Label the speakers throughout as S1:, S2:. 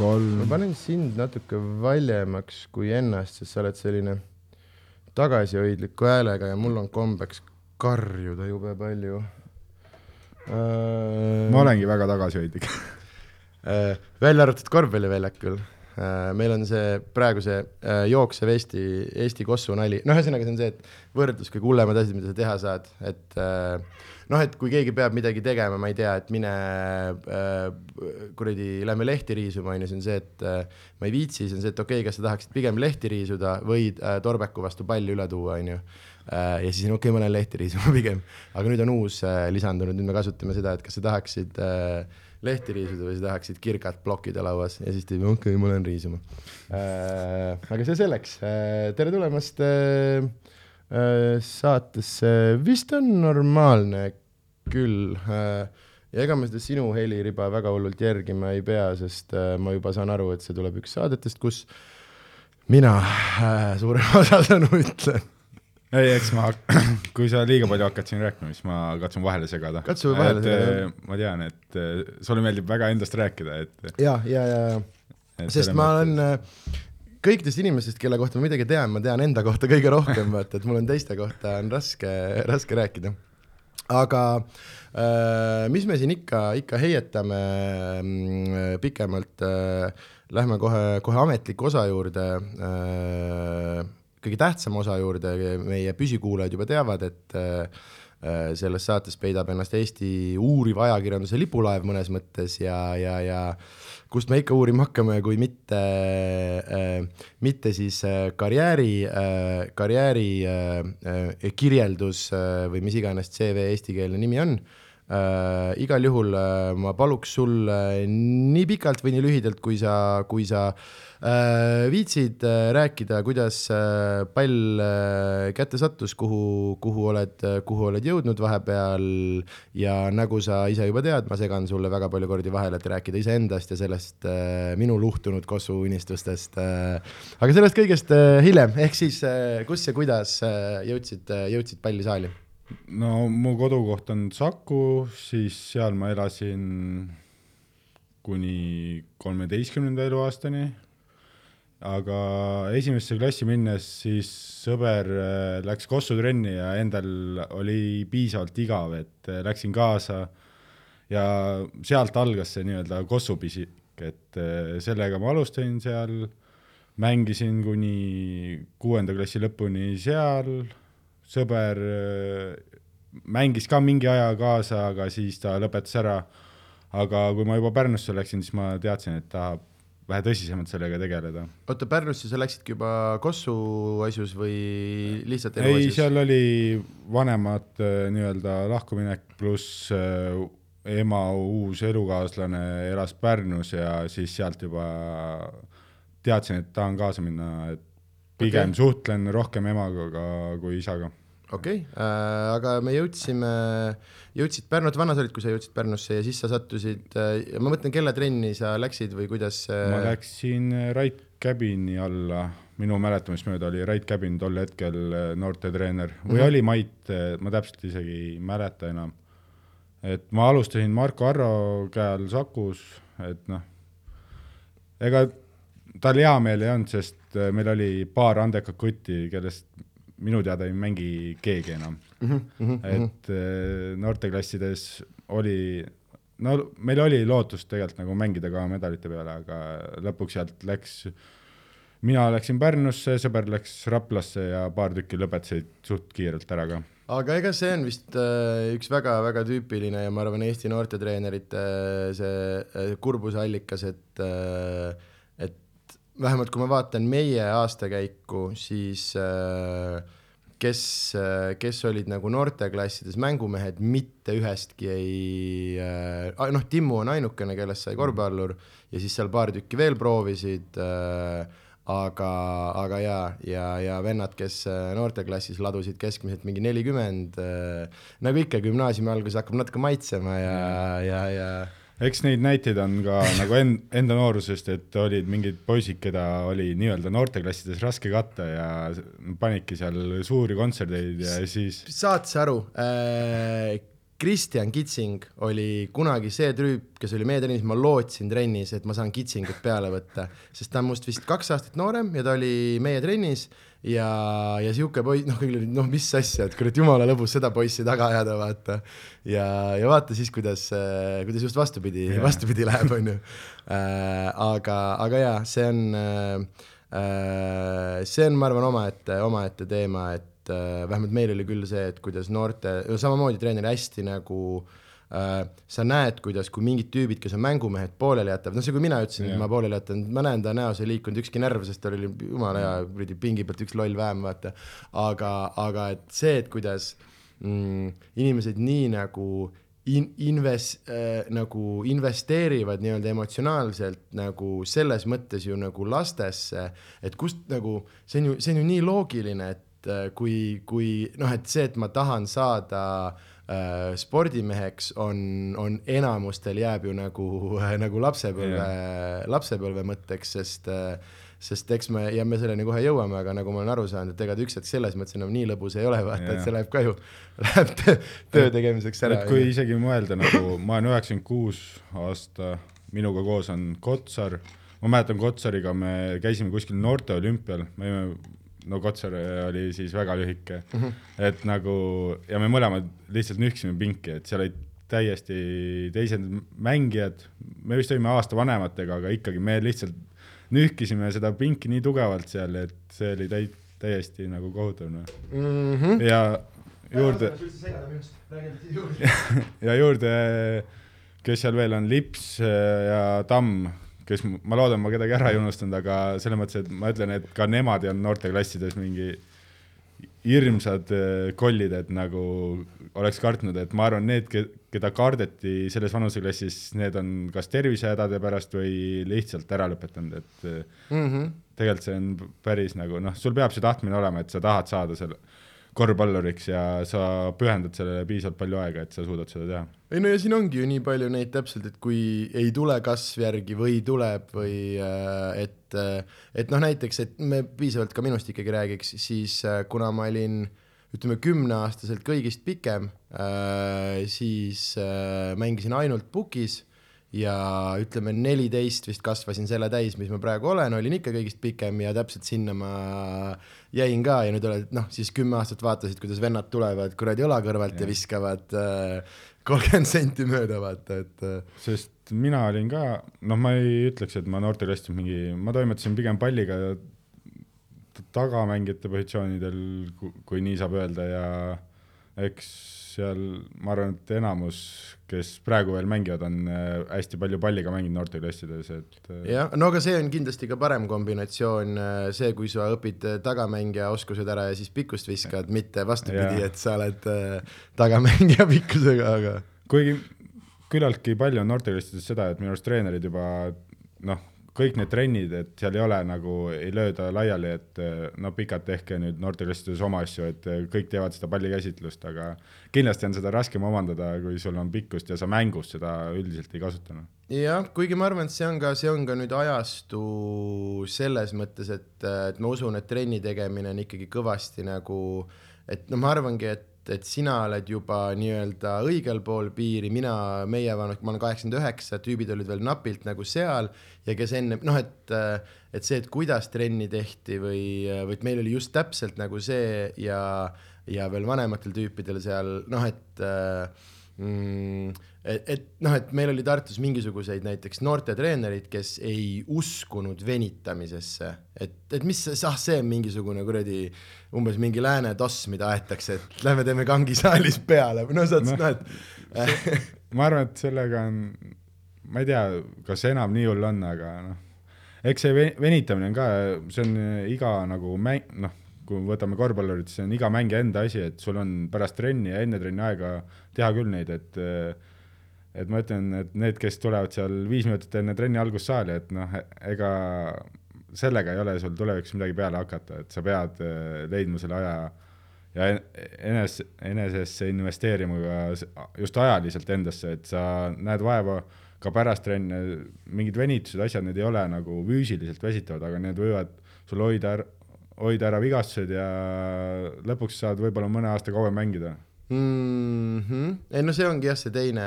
S1: ma
S2: Mm.
S1: panen sind natuke valjemaks kui ennast , sest sa oled selline tagasihoidliku häälega ja mul on kombeks karjuda jube palju .
S2: ma olengi väga tagasihoidlik .
S1: Äh, välja arvatud korvpalliväljakul . meil on see praegu see äh, jooksev Eesti , Eesti kossu nali , noh , ühesõnaga see on see , et võrdlus kõige hullemad asjad , mida sa teha saad , et äh, noh , et kui keegi peab midagi tegema , ma ei tea , et mine äh, kuradi , lähme lehti riisuma , on ju , see on see , et äh, ma ei viitsi , see on see , et okei okay, , kas sa tahaksid pigem lehti riisuda või äh, torbeku vastu palli üle tuua , on ju . Äh, ja siis on okei okay, , ma lähen lehti riisuma pigem , aga nüüd on uus äh, lisandunud , nüüd me kasutame seda , et kas sa tahaksid äh, lehti riisuda või sa tahaksid kirkat plokkida lauas ja siis teeme okei okay, , ma lähen riisuma äh, . aga see selleks äh, , tere tulemast äh, äh, saatesse , vist on normaalne küll äh, . ja ega ma seda sinu heliriba väga hullult järgima ei pea , sest äh, ma juba saan aru , et see tuleb üks saadetest , kus mina äh, suurema osa sõnu ütlen .
S2: ei , eks ma , kui sa liiga palju hakkad siin rääkima , siis ma katsun vahele segada .
S1: Katsu vahele segada, jah. .
S2: ma tean , et eh, sulle meeldib väga endast rääkida , et,
S1: ja , ja , ja , ja
S2: et .
S1: sest ma olen äh, kõikidest inimestest , kelle kohta ma midagi tean , ma tean enda kohta kõige rohkem , vaata , et mul on teiste kohta on raske , raske rääkida . aga äh, mis me siin ikka , ikka heietame mm, pikemalt äh, , lähme kohe , kohe ametliku osa juurde äh, , kõige tähtsama osa juurde , meie püsikuulajad juba teavad , et äh, äh, selles saates peidab ennast Eesti uuriv ajakirjanduse lipulaev mõnes mõttes ja , ja , ja kust me ikka uurima hakkame , kui mitte äh, , mitte siis äh, karjääri äh, , karjääri äh, äh, kirjeldus äh, või mis iganes CV eestikeelne nimi on äh, . igal juhul äh, ma paluks sul äh, nii pikalt või nii lühidalt , kui sa , kui sa äh, viitsid äh, rääkida , kuidas äh, pall äh, kätte sattus , kuhu , kuhu oled , kuhu oled jõudnud vahepeal ja nagu sa ise juba tead , ma segan sulle väga palju kordi vahele , et rääkida iseendast ja sellest äh, minu luhtunud Kossu unistustest äh, . aga sellest kõigest äh, hiljem , ehk siis äh, kus ja kuidas äh, jõudsid , jõudsid pallisaali ?
S2: no mu kodukoht on Saku , siis seal ma elasin kuni kolmeteistkümnenda eluaastani . aga esimesse klassi minnes siis sõber äh, läks Kossu trenni ja endal oli piisavalt igav , et äh, läksin kaasa ja sealt algas see nii-öelda Kossu pisik , et äh, sellega ma alustasin seal , mängisin kuni kuuenda klassi lõpuni seal , sõber äh, mängis ka mingi aja kaasa , aga siis ta lõpetas ära . aga kui ma juba Pärnusse läksin , siis ma teadsin , et tahab vähe tõsisemalt sellega tegeleda .
S1: oota , Pärnusse sa läksidki juba Kossu asjus või lihtsalt elu
S2: ei ,
S1: asjus ?
S2: seal oli vanemad äh, nii-öelda lahkuminek pluss äh, ema uus elukaaslane elas Pärnus ja siis sealt juba teadsin , et tahan kaasa minna , et pigem
S1: Okei.
S2: okay. suhtlen rohkem emaga ka- kui isaga
S1: okei okay. , aga me jõudsime , jõudsid Pärnu , oota , vana sa olid , kui sa jõudsid Pärnusse ja siis sa sattusid , ma mõtlen , kelle trenni sa läksid või kuidas ?
S2: ma läksin äh, Rait Käbini alla , minu mäletamist mööda oli Rait Käbin tol hetkel äh, noortetreener või mm -hmm. oli Mait , ma täpselt isegi ei mäleta enam . et ma alustasin Marko Arro käe all Sakus , et noh , ega tal hea meel ei olnud , sest äh, meil oli paar andekat kutti , kellest minu teada ei mängi keegi enam et eh, noorteklassides oli , no meil oli lootust tegelikult nagu mängida ka medalite peale , aga lõpuks sealt läks , mina läksin Pärnusse , sõber läks Raplasse ja paar tükki lõpetasid suht kiirelt ära ka .
S1: aga ega see on vist äh, üks väga-väga tüüpiline ja ma arvan , Eesti noortetreenerite äh, see äh, kurbuse allikas , et äh, , et vähemalt kui ma vaatan meie aastakäiku , siis äh, kes , kes olid nagu noorteklassides mängumehed , mitte ühestki ei äh, , noh , Timmu on ainukene , kellest sai korvpallur ja siis seal paar tükki veel proovisid äh, aga , aga jaa , ja , ja vennad , kes äh, noorteklassis ladusid keskmiselt mingi nelikümmend , nagu ikka , gümnaasiumi alguses hakkab natuke maitsema ja , ja , ja
S2: eks neid näiteid on ka nagu en- , enda noorusest , et olid mingid poisid , keda oli nii-öelda noorteklassides raske katta ja s- panidki seal suuri kontserteid ja siis
S1: saad sa aru , Kristjan äh, Kitsing oli kunagi see trüüp, kes oli meie trennis , ma lootsin trennis , et ma saan Kitsingut peale võtta , sest ta on must vist kaks aastat noorem ja ta oli meie trennis ja , ja sihuke poiss , noh , kõigil oli , noh , mis asja , et kurat , jumala lõbus seda poissi taga ajada , vaata . ja , ja vaata siis , kuidas , kuidas just vastupidi yeah. ,
S2: Jaa.
S1: vastupidi läheb , onju . aga , aga jaa , see on , see on , ma arvan , omaette , omaette teema , et äh, vähemalt meil oli küll see , et kuidas noorte , samamoodi treener hästi nagu äh, sa näed , kuidas , kui mingid tüübid , kes on mängumehed , pooleli jätavad , noh see , kui mina ütlesin yeah. ,
S2: Jaa.
S1: et ma pooleli jätan , ma näen ta näos ei liikunud ükski närv , sest tal oli jumala hea kuradi pingi pealt üks loll vähem , vaata . aga , aga et see , et kuidas mm, inimesed nii nagu in- , inves- äh, , nagu investeerivad nii-öelda emotsionaalselt nagu selles mõttes ju nagu lastesse , et kust nagu , see on ju , see on ju nii loogiline , et äh, kui , kui noh , et see , et ma tahan saada äh, spordimeheks on , on enamustel jääb ju nagu äh, , nagu lapsepõlve yeah. , äh, lapsepõlve mõtteks , sest äh, sest eks me ja me selleni kohe jõuame , aga nagu ma olen aru saanud , et ega ta üks hetk selles mõttes enam nii lõbus ei ole , vaata , et
S2: Jaa.
S1: see läheb ka ju , läheb töö, töö tegemiseks ära
S2: et . kui isegi mõelda nagu , ma olen üheksakümmend kuus aasta , minuga koos on Kotsar , ma mäletan Kotsariga me käisime kuskil noorteolümpial , me olime , no Kotsar oli siis väga lühike mm , -hmm. et nagu ja me mõlemad lihtsalt nühkisime pinki , et seal olid täiesti teised mängijad , me vist olime aasta vanematega , aga ikkagi me lihtsalt nühkisime seda pinki nii tugevalt seal , et see oli täi- , täiesti nagu kohutav noh ,
S1: mm . -hmm.
S2: ja juurde ja juurde , kes seal veel on , Lips äh, ja Tamm , kes m- ma loodan , ma kedagi ära ei unustanud , aga selles mõttes , et ma ütlen , et ka nemad ei olnud noorteklassides mingi hirmsad eh, kollid , et nagu oleks kartnud , et ma arvan , need , keda kardeti selles vanuseklassis , need on kas tervisehädade pärast või lihtsalt ära lõpetanud , et eh,
S1: Mm -hmm.
S2: tegelikult see on p- päris nagu noh , sul peab see tahtmine olema , et sa tahad saada selle korvpalluriks ja sa pühendad sellele piisavalt palju aega , et sa suudad seda teha .
S1: ei no ja siin ongi ju nii palju neid täpselt , et kui ei tule kasv järgi või tuleb või äh, et , et noh , näiteks , et me piisavalt ka minust ikkagi räägiks , siis äh, kuna ma olin ütleme kümneaastaselt kõigist pikem äh, , siis äh, mängisin ainult pukis ja ütleme , neliteist vist kasvasin selle täis , mis ma praegu olen , olin ikka kõigist pikem ja täpselt sinna ma jäin ka ja nüüd oled noh , siis kümme aastat vaatasid , kuidas vennad tulevad kuradi õla kõrvalt ja, ja viskavad kolmkümmend äh, senti mööda , vaata , et äh,
S2: sest mina olin ka , noh , ma ei ütleks , et ma noorteklassis mingi , ma toimetasin pigem palliga t- tagamängijate positsioonidel , kui nii saab öelda ja eks seal ma arvan , et enamus , kes praegu veel mängivad , on äh, hästi palju palliga mänginud noorteklassides , et äh,
S1: jah , no aga see on kindlasti ka parem kombinatsioon , see , kui sa õpid äh, tagamängija oskused ära ja siis pikkust viskad , mitte vastupidi ,
S2: Jah.
S1: et sa oled äh, tagamängija pikkusega , aga
S2: kuigi küllaltki palju on noorteklassides seda , et minu arust treenerid juba noh , kõik need trennid , et seal ei ole nagu , ei lööda laiali , et eh, no pikalt tehke nüüd noorteklassides oma asju , et eh, kõik teevad seda pallikäsitlust , aga kindlasti on seda raskem omandada , kui sul on pikkust ja sa mängus seda üldiselt ei kasuta noh .
S1: jah , kuigi ma arvan , et see on ka , see on ka nüüd ajastu selles mõttes , et , et ma usun , et trenni tegemine on ikkagi kõvasti nagu , et no ma arvangi , et , et sina oled juba nii-öelda õigel pool piiri , mina , meie vanus , ma olen kaheksakümmend üheksa , tüübid olid veel napilt nagu seal ja kes enne noh , et , et see , et kuidas trenni tehti või , või et meil oli just täpselt nagu see ja , ja veel vanematel tüüpidel seal noh , et äh, mm, . et , et noh , et meil oli Tartus mingisuguseid näiteks noortetreenereid , kes ei uskunud venitamisesse , et , et mis see , ah see on mingisugune kuradi umbes mingi lääne toss , mida aetakse , et lähme teeme kangisaalis peale või no saad no. , noh et .
S2: ma arvan , et sellega on , ma ei tea , kas see enam nii hull on , aga noh , eks see ve- venitamine on ka , see on iga nagu mäng , noh , kui võtame korvpallurid , siis see on iga mängija enda asi , et sul on pärast trenni ja enne trenni aega teha küll neid , et et ma ütlen , et need , kes tulevad seal viis minutit enne trenni algust saali , et noh , ega sellega ei ole sul tulevikus midagi peale hakata , et sa pead eh, leidma selle aja ja en- enes- , enesesse investeerima ka s- just ajaliselt endasse , et sa näed vaeva ka pärast trenne , mingid venitused , asjad , need ei ole nagu füüsiliselt väsitavad , aga need võivad sul hoida ära , hoida ära vigastused ja lõpuks saad võib-olla mõne aasta kauem mängida .
S1: mm . -hmm. ei no see ongi jah , see teine ,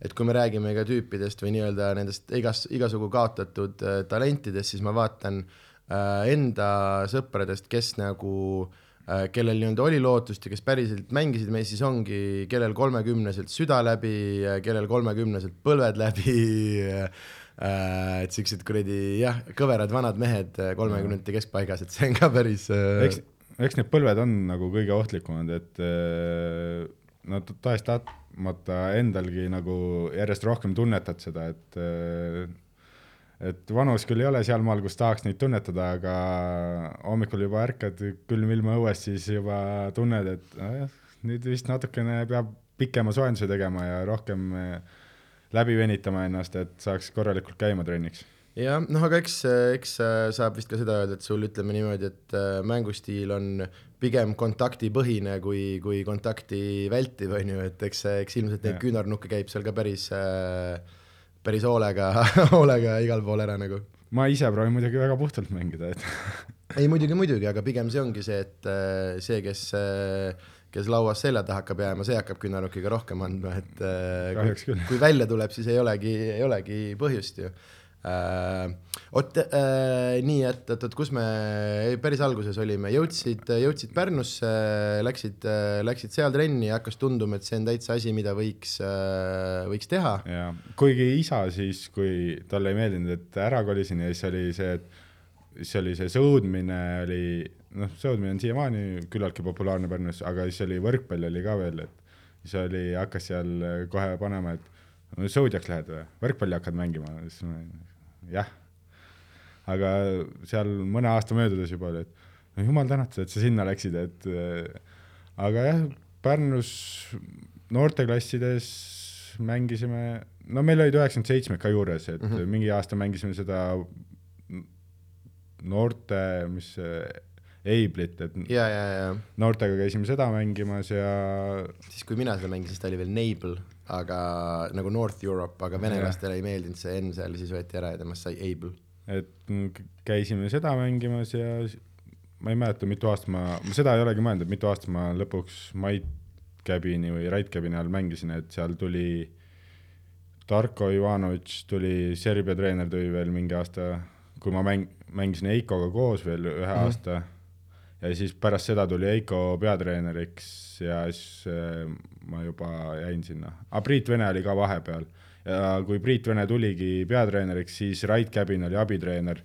S1: et kui me räägime ka tüüpidest või nii-öelda nendest igas , igasugu kaotatud äh, talentidest , siis ma vaatan äh, enda sõpradest , kes nagu äh, kellel nii-öelda oli lootust ja kes päriselt mängisid meis , siis ongi , kellel kolmekümneselt süda läbi , kellel kolmekümneselt põlved läbi äh, . et siuksed kuradi jah , kõverad vanad mehed kolmekümnendate keskpaigas , et see on ka päris äh,
S2: eks , eks need põlved on nagu kõige ohtlikumad , et eh, nad tahes-tahtmata endalgi nagu järjest rohkem tunnetad seda , et eh, et vanus küll ei ole sealmaal , kus tahaks neid tunnetada , aga hommikul juba ärkad külm ilma õues , siis juba tunned , et nojah , nüüd vist natukene peab pikema soojenduse tegema ja rohkem eh, läbi venitama ennast , et saaks korralikult käima trenniks .
S1: jah , noh , aga eks , eks äh, saab vist ka seda öelda , et sul ütleme niimoodi , et äh, mängustiil on pigem kontaktipõhine kui , kui kontakti vältiv , on ju , et eks , eks ilmselt neid
S2: Jah.
S1: küünarnukke käib seal ka päris , päris hoolega , hoolega igal pool ära nagu .
S2: ma ise proovin muidugi väga puhtalt mängida , et
S1: ei , muidugi , muidugi , aga pigem see ongi see , et äh, see , kes , kes lauas selja taha hakkab jääma , see hakkab küünarnukiga rohkem andma , et äh,
S2: Kahjuks
S1: kui,
S2: küll.
S1: kui välja tuleb , siis ei olegi , ei olegi põhjust ju . oot , nii et , oot , oot , kus me ei, päris alguses olime , jõudsid , jõudsid Pärnusse , läksid , läksid seal trenni ja hakkas tunduma , et see on täitsa asi , mida võiks , võiks teha .
S2: ja kuigi isa siis , kui talle ei meeldinud , et ära kolisin ja siis oli see , et siis oli see sõudmine oli , noh , sõudmine on siiamaani küllaltki populaarne Pärnus , aga siis oli võrkpall oli ka veel , et siis oli , hakkas seal kohe panema , et no sõudjaks lähed või , võrkpalli hakkad mängima , siis ma jah . aga seal mõne aasta möödudes juba oli , et no jumal tänatud , et sa sinna läksid , et äh, aga jah , Pärnus noorteklassides mängisime , no meil olid üheksakümmend seitsmed ka juures , et mm
S1: Mhm.
S2: -hmm. mingi aasta mängisime seda noorte , mis see , Eiblit , et
S1: ja , ja , ja
S2: noortega käisime seda mängimas ja
S1: siis kui mina seda mängisin , siis ta oli veel Nable , aga nagu North Europe , aga venelastele ei meeldinud see N seal , siis võeti ära ja temast sai Able .
S2: et m- k- käisime seda mängimas ja s- ma ei mäleta , mitu aastat ma , ma seda ei olegi mõelnud , et mitu aastat ma lõpuks Mait Käbini või Rait Käbini all mängisin , et seal tuli Darko Ivanovic tuli , Serbia treener tuli veel mingi aasta , kui ma mäng- , mängisin Eikoga koos veel ühe mm
S1: Mhm.
S2: -hmm. aasta ja siis pärast seda tuli Eiko peatreeneriks ja siis äh, ma juba jäin sinna , aga Priit Vene oli ka vahepeal ja kui Priit Vene tuligi peatreeneriks , siis Rait Käbin oli abitreener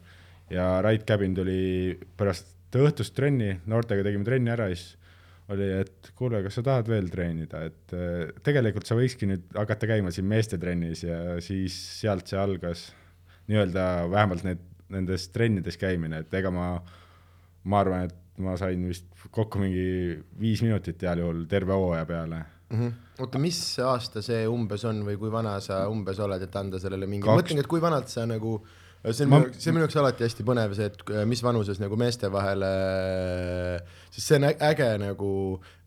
S2: ja Rait Käbin tuli pärast õhtust trenni , noortega tegime trenni ära ja siis oli , et kuule , kas sa tahad veel treenida , et äh, tegelikult sa võikski nüüd hakata käima siin meestetrennis ja siis sealt see algas nii-öelda vähemalt need , nendes trennides käimine , et ega ma , ma arvan , et ma sain vist kokku mingi viis minutit heal juhul terve hooaja peale .
S1: oota , mis aasta see umbes on või kui vana sa umbes oled , et anda sellele mingi , ma
S2: Kaks-
S1: mõtlengi , et kui vanalt sa nagu see on
S2: Ma-
S1: ma... , see on minu jaoks alati hästi põnev see , et äh, mis vanuses nagu meeste vahel , sest see on ä- äge nagu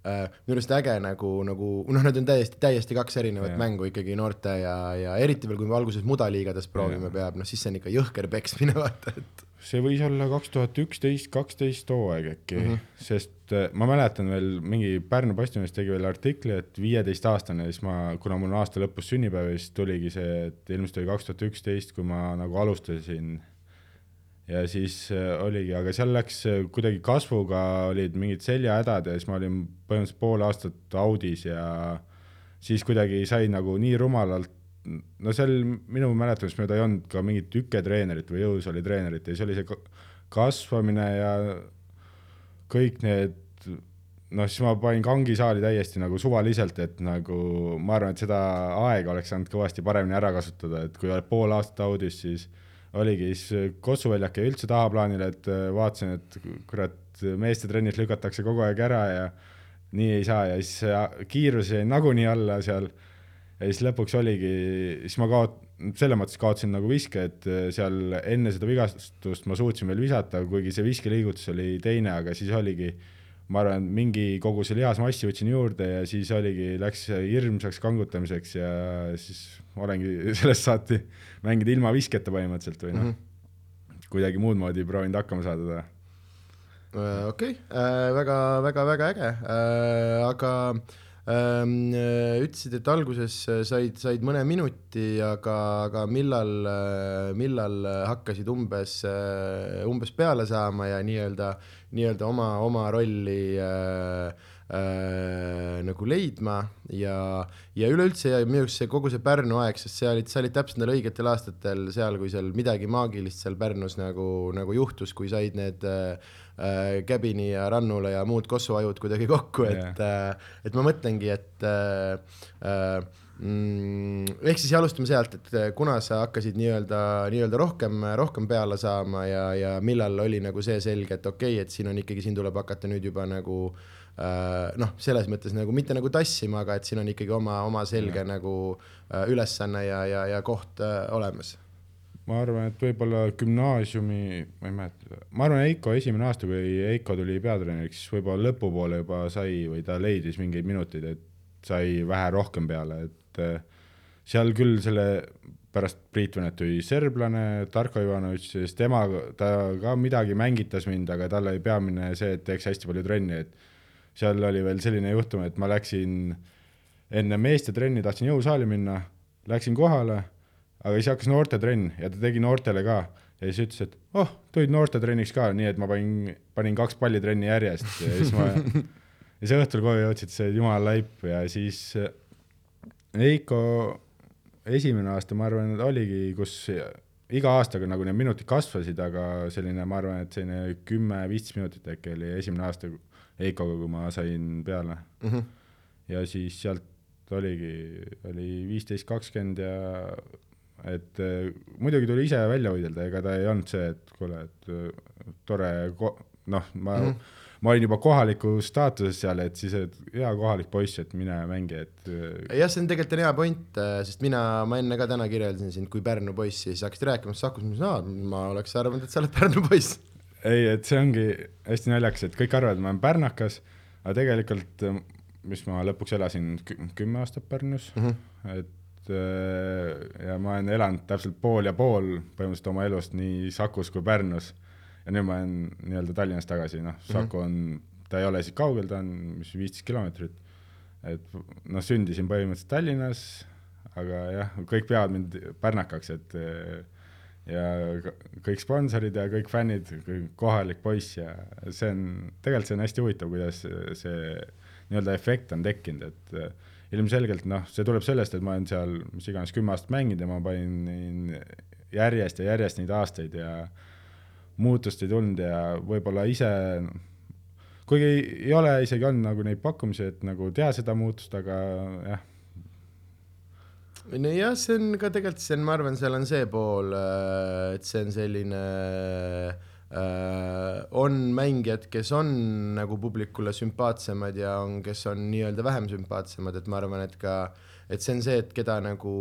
S1: äh, minu arust äge nagu , nagu noh , need on täiesti , täiesti kaks erinevat
S2: Jah.
S1: ja. mängu ikkagi noorte ja , ja eriti veel , kui me alguses mudaliigades proovima peab , noh siis see on ikka jõhker peksmine , vaata , et
S2: see võis olla kaks tuhat üksteist , kaksteist hooaeg äkki mm , -hmm. sest äh, ma mäletan veel mingi Pärnu Postimees tegi veel artikli , et viieteistaastane , siis ma , kuna mul on aasta lõpus sünnipäev , siis tuligi see , et ilmselt oli kaks tuhat üksteist , kui ma nagu alustasin . ja siis äh, oligi , aga seal läks äh, kuidagi kasvuga olid mingid seljahädad ja siis ma olin põhimõtteliselt pool aastat audis ja siis kuidagi sai nagu nii rumalalt , no seal minu mäletamist mööda ei olnud ka mingit hüketreenerit või jõus oli treenerit ja siis oli see ka- kasvamine ja kõik need , noh siis ma panin kangisaali täiesti nagu suvaliselt , et nagu ma arvan , et seda aega oleks saanud kõvasti paremini ära kasutada , et kui oled pool aastat audis , siis oligi , siis Kossu väljak jäi üldse tahaplaanile , et äh, vaatasin , et kurat , meeste trennis lükatakse kogu aeg ära ja nii ei saa ja siis see kiirus jäi nagunii alla seal . ja siis lõpuks oligi , siis ma kaot- , selles mõttes kaotasin nagu viske , et seal enne seda vigastust ma suutsin veel visata , kuigi see viskeliigutus oli teine , aga siis oligi , ma arvan , mingi koguse lihasmassi võtsin juurde ja siis oligi , läks hirmsaks kangutamiseks ja siis olengi sellest saati mänginud ilma visketa põhimõtteliselt või noh mm -hmm. , kuidagi muud moodi proovinud hakkama saada .
S1: Äh, okei okay. , väga-väga-väga äge , aga äh, ütlesid, et alguses said, said mõne minuti, aga, aga millal, äh, millal hakkasid umbes, äh, umbes peale saama ja nii-öelda, nii-öelda oma, oma rolli äh, äh, nagu leidma ja, ja üleüldse ja minu arust see kogu see Pärnu aeg, sest sa olid, sa olid täpselt neil õigetel aastatel seal, kui seal midagi maagilist seal Pärnus nagu, nagu juhtus, kui said need äh, äh, Käbini ja Rannula ja muud kossuajud kuidagi kokku, et yeah., äh, et ma mõtlengi, et äh, äh, mm, ehk siis alustame sealt, et äh, kuna sa hakkasid nii-öelda, nii-öelda rohkem, rohkem peale saama ja, ja millal oli nagu see selge, et okei okay,, et siin on ikkagi, siin tuleb hakata nüüd juba nagu äh, noh, selles mõttes nagu mitte nagu tassima, aga et siin on ikkagi oma, oma selge ja. nagu äh, ülesanne ja, ja, ja koht äh, olemas.
S2: ma arvan, et võib-olla gümnaasiumi, ma ei mäleta, ma arvan, Eiko esimene aasta, kui Eiko tuli peatreeneriks, võib-olla lõpupoole juba sai või ta leidis mingeid minuteid, et sai vähe rohkem peale, et eh, seal küll selle pärast Priit Venet tuli serblane, Tarko Ivanovitš, siis tema, ta ka midagi mängitas mind, aga tal oli peamine see, et teeks hästi palju trenni, et seal oli veel selline juhtum, et ma läksin enne meeste trenni, tahtsin jõusaali minna, läksin kohale, aga siis hakkas noortetrenn ja ta tegi noortele ka ja siis ütles, et oh, tulid noortetrenniks ka, nii et ma panin, panin kaks palli trenni järjest ja siis ma ja siis õhtul koju jõudsid, see jumala laip ja siis Heiko esimene aasta, ma arvan, oligi, kus iga aastaga nagu need minutid kasvasid, aga selline, ma arvan, et selline kümme-viisteist minutit äkki oli esimene aasta Heikoga, kui ma sain peale mm. -hmm. ja siis sealt oligi, oli viisteist, kakskümmend ja et äh, muidugi tuli ise välja võidelda, ega ta ei olnud see, et kuule, et tore, noh, ma mm -hmm ma olin juba kohaliku staatuses seal, et siis, et hea kohalik poiss, et mine mängi, et. äh,
S1: jah, see on tegelikult on hea point, äh, sest mina, ma enne ka täna kirjeldasin sind kui Pärnu poissi, siis hakkasid rääkima, siis hakkasin, et ma oleks arvanud, et sa oled Pärnu poiss.
S2: ei, et see ongi hästi naljakas, et kõik arvavad, et ma olen pärnakas, aga tegelikult, eh, mis ma lõpuks elasin kümme aastat Pärnus mm, -hmm. et eh, ja ma olen elanud täpselt pool ja pool põhimõtteliselt oma elust nii Sakus kui Pärnus ja nüüd ma olen nii-öelda Tallinnas tagasi, noh, Saku on mm, -hmm. ta ei ole siit kaugel, ta on mis viisteist kilomeetrit. et noh, sündisin põhimõtteliselt Tallinnas, aga jah, kõik peavad mind pärnakaks, et eh, ja kõik sponsorid ja kõik fännid, kohalik poiss ja see on, tegelikult see on hästi huvitav, kuidas see nii-öelda efekt on tekkinud, et ilmselgelt noh, see tuleb sellest, et ma olen seal mis iganes kümme aastat mänginud ja ma panin järjest ja järjest neid aastaid ja muutust ei tulnud ja võib-olla ise, kuigi ei ole, isegi on nagu neid pakkumisi, et nagu teha seda muutust, aga jah.
S1: nojah, see on ka tegelikult, see on, ma arvan, seal on see pool, et see on selline äh, on mängijad, kes on nagu publikule sümpaatsemad ja on, kes on nii-öelda vähem sümpaatsemad, et ma arvan, et ka, et see on see, et keda nagu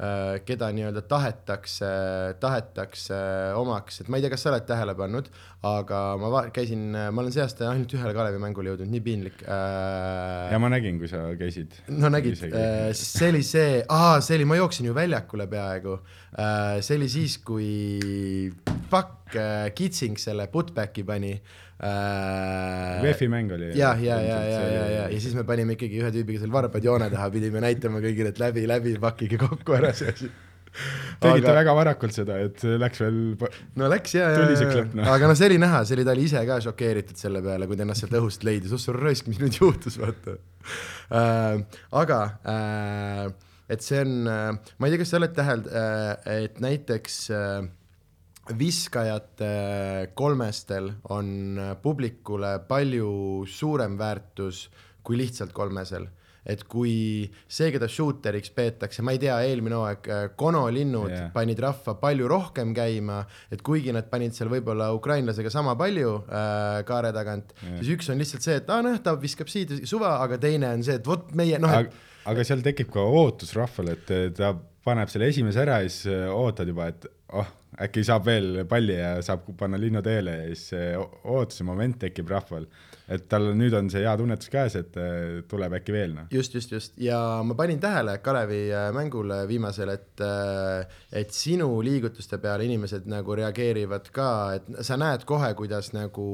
S1: äh, keda nii-öelda tahetakse, tahetakse omaks, et ma ei tea, kas sa oled tähele pannud, aga ma va-, käisin, ma olen see aasta ainult ühele Kalevi mängule jõudnud, nii piinlik äh....
S2: ja ma nägin, kui sa käisid.
S1: no nägid, äh, see oli see, aa, see oli, ma jooksin ju väljakule peaaegu äh,. see oli siis, kui fuck äh,, Kitsing selle putback'i pani
S2: äh,. VEF-i mäng oli.
S1: ja, ja, ja, ja, ja, ja, ja siis me panime ikkagi ühe tüübiga seal varbad joone taha, pidime näitama kõigile, et läbi, läbi, pakkige kokku ära see asi.
S2: tegite aga... väga varakult seda, et läks veel.
S1: no läks ja, ja, no. aga noh, see oli näha, see oli, ta oli ise ka šokeeritud selle peale, kui ta ennast sealt õhust leidis, oh sa raisk, mis nüüd juhtus, vaata äh,. aga äh, et see on, äh, ma ei tea, kas sa oled tähel- äh,, et näiteks äh, viskajate äh, kolmestel on äh, publikule palju suurem väärtus kui lihtsalt kolmesel. et kui see, keda shooteriks peetakse, ma ei tea, eelmine hooaeg äh, Kono linnud yeah. panid rahva palju rohkem käima, et kuigi nad panid seal võib-olla ukrainlasega sama palju äh, kaare tagant yeah., siis üks on lihtsalt see, et aa noh, ta viskab siit suva, aga teine on see, et vot meie noh
S2: et.... aga seal tekib ka ootus rahvale, et ta paneb selle esimese ära ja siis äh, ootad juba, et oh, äkki saab veel palli ja saab panna linna teele ja siis see ootuse moment tekib rahval. et tal nüüd on see hea tunnetus käes, et tuleb äkki veel noh.
S1: just, just, just ja ma panin tähele Kalevi äh, mängule viimasel, et, äh, et sinu liigutuste peale inimesed nagu reageerivad ka, et sa näed kohe, kuidas nagu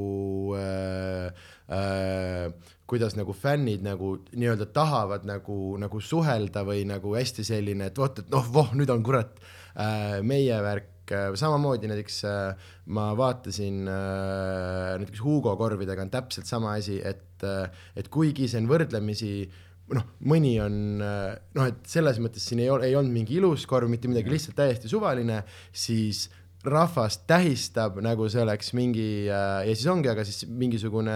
S1: äh, äh, kuidas nagu fännid nagu nii-öelda tahavad nagu , nagu suhelda või nagu hästi selline , et vot , et noh , voh , nüüd on kurat äh, meie värk äh, samamoodi näiteks äh, ma vaatasin äh, näiteks Hugo korvidega on täpselt sama asi , et äh, , et kuigi see on võrdlemisi noh , mõni on äh, noh , et selles mõttes siin ei ole , ei olnud mingi ilus korv , mitte midagi , lihtsalt täiesti suvaline , siis rahvas tähistab , nagu see oleks mingi äh, ja siis ongi , aga siis mingisugune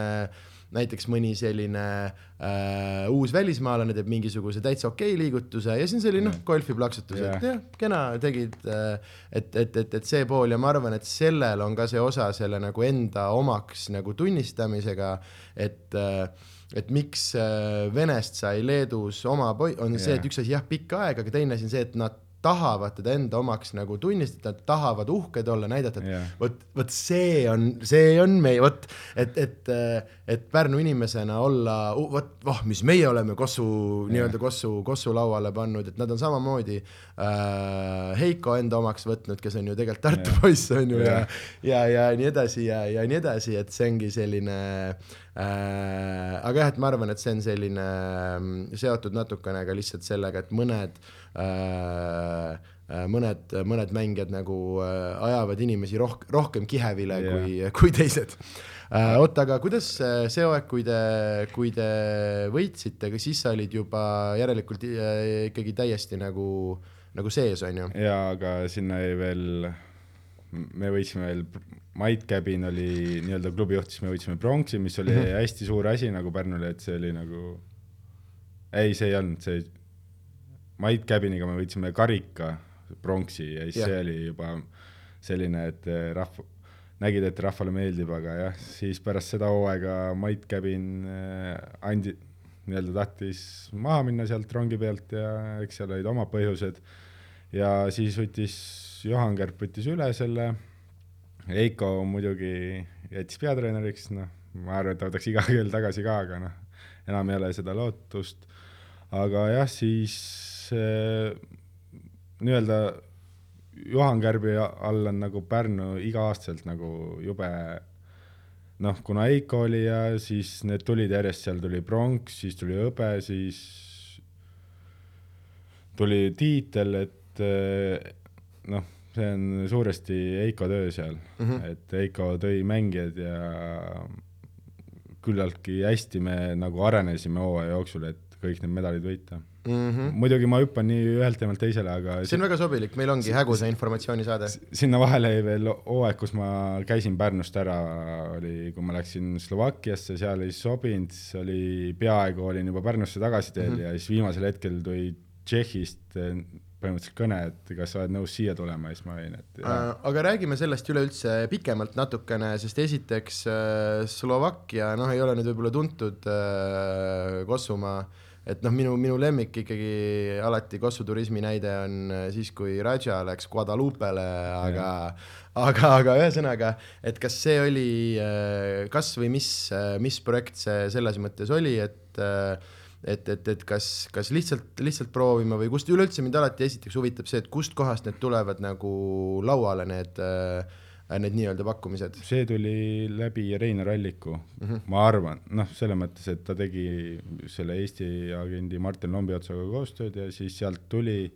S1: näiteks mõni selline äh, uus välismaalane teeb mingisuguse täitsa okei liigutuse ja siis on selline noh , golfi plaksutus , et
S2: Jah.
S1: jah , kena tegid , et , et , et , et see pool ja ma arvan , et sellel on ka see osa selle nagu enda omaks nagu tunnistamisega , et , et miks äh, Venest sai Leedus oma poi- , on see , et
S2: Jah.
S1: üks asi jah , pikka aega , aga teine asi on see , et nad tahavad teda enda omaks nagu tunnistada , tahavad uhked olla , näidata , et
S2: Jah.
S1: vot , vot see on , see on meie , vot , et , et , et Pärnu inimesena olla , vot , voh , mis meie oleme Kossu nii-öelda Kossu , Kossu lauale pannud , et nad on samamoodi äh, Heiko enda omaks võtnud , kes on ju tegelikult Tartu poiss , on ju , ja
S2: Jah. ,
S1: ja , ja nii edasi ja , ja nii edasi , et see ongi selline äh, , aga jah , et ma arvan , et see on selline mm, seotud natukene ka lihtsalt sellega , et mõned äh, äh, mõned , mõned mängijad nagu äh, ajavad inimesi rohk- , rohkem kihevile
S2: Jah.
S1: yeah. kui , kui teised äh, . oot , aga kuidas äh, see aeg , kui te , kui te võitsite , siis sa olid juba järelikult äh, ikkagi täiesti nagu , nagu sees , on ju ?
S2: ja aga sinna jäi veel , me võitsime veel , Mait Käbin oli nii-öelda klubi juht , siis me võitsime pronksi , mis oli mm -hmm. hästi suur asi nagu Pärnule , et see oli nagu , ei , see ei olnud , see , Mait Käbiniga me võitsime karika pronksi ja siis
S1: Jah.
S2: yeah. see oli juba selline , et rahva , nägid , et rahvale meeldib , aga jah , siis pärast seda hooaega Mait Käbin äh, andi- , nii-öelda tahtis maha minna sealt rongi pealt ja eks seal olid omad põhjused ja siis võttis Johan Kärp võttis üle selle , Heiko muidugi jättis peatreeneriks , noh , ma arvan , et ta võtaks iga kell tagasi ka , aga noh , enam ei ole seda lootust . aga jah , siis äh, nii-öelda Juhan Kärbi all on nagu Pärnu iga-aastaselt nagu jube noh , kuna Heiko oli ja siis need tulid järjest , seal tuli pronks , siis tuli hõbe , siis tuli tiitel , et eh, noh , see on suuresti Heiko töö seal mm ,
S1: Mhm.
S2: -hmm. et Heiko tõi mängijad ja küllaltki hästi me nagu arenesime hooaja jooksul , et kõik need medalid võita mm .
S1: Mm -hmm.
S2: -hmm. muidugi ma hüppan nii ühelt teemalt teisele , aga
S1: see on väga sobilik , meil ongi häguse informatsioonisaade .
S2: sinna vahele jäi veel hooaeg , kus ma käisin Pärnust ära , oli , kui ma läksin Slovakkiasse , seal ei sobinud , siis oli peaaegu olin juba Pärnusse tagasi teel mm
S1: Mhm.
S2: -hmm. ja siis viimasel hetkel tuli Tšehhist eh, põhimõtteliselt kõne , et kas sa oled nõus siia tulema ja siis ma olin , et jaa.
S1: Äh, aga räägime sellest üleüldse pikemalt natukene , sest esiteks äh, Slovakkia , noh , ei ole nüüd võib-olla tuntud äh, Kossumaa , et noh , minu , minu lemmik ikkagi alati Kossu turismi näide on äh, siis , kui Raja läks Guadalupele , aga , aga , aga ühesõnaga , et kas see oli , kas või mis , mis projekt see selles mõttes oli , et äh, et , et , et kas , kas lihtsalt , lihtsalt proovima või kust üleüldse mind alati esiteks huvitab see , et kustkohast need tulevad nagu lauale , need , need nii-öelda pakkumised .
S2: see tuli läbi Reinar Alliku mm , -hmm. ma arvan , noh , selles mõttes , et ta tegi selle Eesti agendi Martin Lombi otsaga koostööd ja siis sealt tuli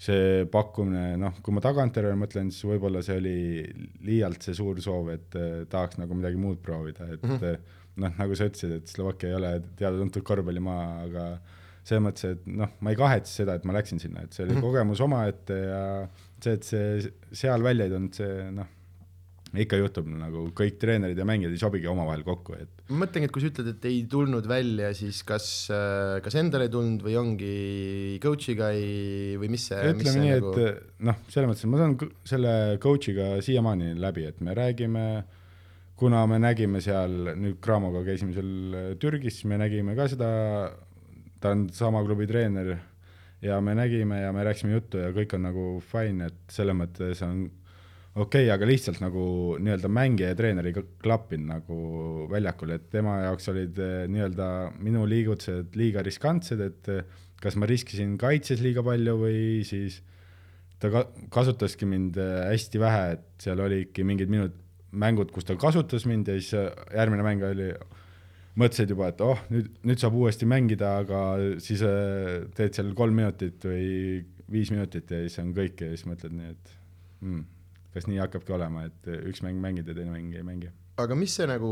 S2: see pakkumine , noh , kui ma tagantjärele mõtlen , siis võib-olla see oli liialt see suur soov , et eh, tahaks nagu midagi muud proovida , et mm -hmm. noh , nagu sa ütlesid , et Slovakkia ei ole teada-tuntud korvpallimaa , aga selles mõttes , et noh , ma ei kahetse seda , et ma läksin sinna , et see oli kogemus omaette ja see , et see seal välja ei tulnud , see noh , ikka juhtub nagu kõik treenerid ja mängijad ei sobigi omavahel kokku , et
S1: ma mõtlengi , et kui sa ütled , et ei tulnud välja , siis kas , kas endal ei tulnud või ongi coach'iga ei , või mis see , mis
S2: ütleme
S1: see
S2: nii ,
S1: nagu et...
S2: et noh , selles mõttes , et ma saan kõ- selle coach'iga siiamaani läbi , et me räägime , kuna me nägime seal nüüd Cramoga käisime seal äh, Türgis , me nägime ka seda , ta on sama klubi treener ja me nägime ja me rääkisime juttu ja kõik on nagu fine , et selles mõttes on okei okay, , aga lihtsalt nagu nii-öelda mängija ja treeneriga klappinud nagu väljakul , et tema jaoks olid eh, nii-öelda minu liigutused liiga riskantsed , et eh, kas ma riskisin kaitses liiga palju või siis ta ka kasutaski mind eh, hästi vähe , et seal äh, oli ikka mingid minut- , mängud , kus ta kasutas mind ja siis eh, järgmine mäng oli , mõtlesid juba , et oh , nüüd , nüüd saab uuesti mängida , aga siis äh, teed seal kolm minutit või viis minutit ja siis on kõik ja siis mõtled nii , et mm, kas nii hakkabki olema , et üks mäng mängid ja teine mäng ei mängi .
S1: aga mis see nagu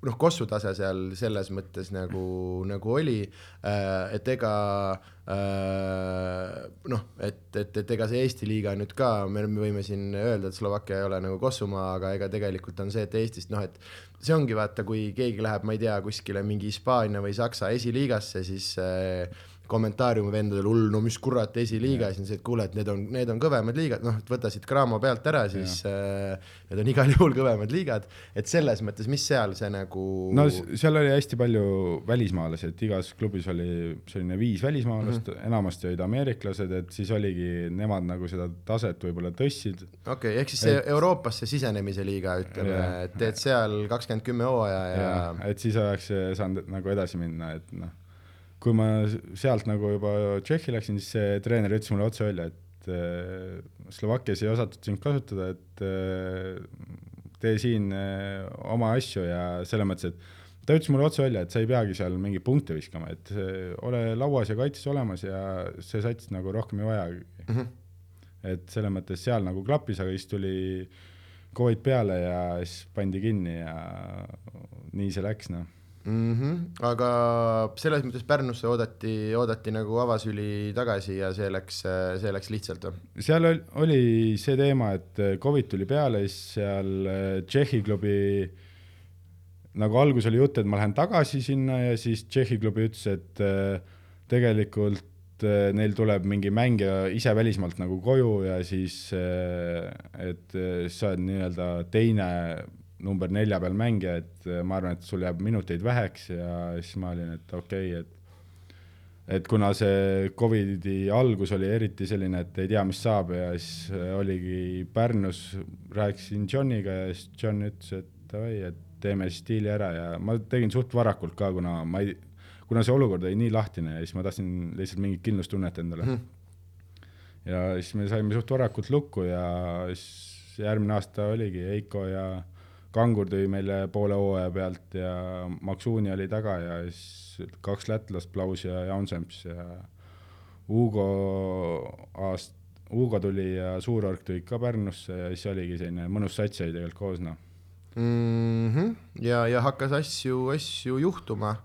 S1: noh , Kossu tase seal selles mõttes nagu , nagu oli , et ega äh, noh , et , et , et ega see Eesti liiga nüüd ka , me me võime siin öelda , et Slovakkia ei ole nagu Kossumaa , aga ega tegelikult on see , et Eestist noh , et see ongi vaata , kui keegi läheb , ma ei tea , kuskile mingi Hispaania või Saksa esiliigasse , siis äh, kommentaariumi vendadel , hull , no mis kurat , esiliiga , siis on see , et kuule , et need on , need on kõvemad liigad , noh , et võta siit Cramo pealt ära , siis äh, need on igal juhul kõvemad liigad , et selles mõttes , mis seal see nagu
S2: no s- seal oli hästi palju välismaalasi , et igas klubis oli selline viis välismaalast mm , -hmm. enamasti olid ameeriklased , et siis oligi nemad nagu seda taset võib-olla tõstsid .
S1: okei okay, , ehk siis see et... Euroopasse sisenemise liiga , ütleme
S2: Jah. ,
S1: et teed seal kakskümmend kümme hooaja ja, ja... ,
S2: et siis oleks saanud nagu edasi minna , et noh , kui ma s- sealt nagu juba Tšehhi läksin , siis see treener ütles mulle otse välja , et äh, Slovakkias ei osatud sind kasutada , et äh, tee siin äh, oma asju ja selles mõttes , et ta ütles mulle otse välja , et sa ei peagi seal mingeid punkte viskama , et äh, ole lauas ja kaitses olemas ja see sats nagu rohkem ei vajagi mm .
S1: Mhm,
S2: -hmm. et selles mõttes seal nagu klappis , aga siis tuli Covid peale ja siis pandi kinni ja nii see läks , noh .
S1: Mm -hmm. aga selles mõttes Pärnusse oodati , oodati nagu avasüli tagasi ja see läks , see läks lihtsalt või ?
S2: seal oli, oli see teema , et äh, Covid tuli peale , siis seal äh, Tšehhi klubi nagu alguses oli jutt , et ma lähen tagasi sinna ja siis Tšehhi klubi ütles , et äh, tegelikult äh, neil tuleb mingi mängija ise välismaalt nagu koju ja siis , et äh, sa oled nii-öelda teine number nelja peal mängija , et äh, ma arvan , et sul jääb minuteid väheks ja siis ma olin , et okei okay, , et et kuna see Covidi algus oli eriti selline , et ei tea , mis saab ja siis äh, oligi Pärnus , rääkisin Johniga ja siis John ütles , et davai , et teeme siis diili ära ja ma tegin suht varakult ka , kuna ma ei , kuna see olukord oli nii lahtine ja siis ma tahtsin lihtsalt mingit kindlustunnet endale mm. . ja siis me saime suht varakult lukku ja siis järgmine aasta oligi Heiko ja Kangur tõi meile poole hooaja pealt ja Maksuuni oli taga ja siis kaks lätlast , Plaus ja Jaunsemps ja Hugo aast- , Hugo tuli ja Suurorg tulid ka Pärnusse ja siis oligi selline mõnus sats oli tegelikult koos , noh .
S1: mm . -hmm. ja , ja hakkas asju , asju juhtuma .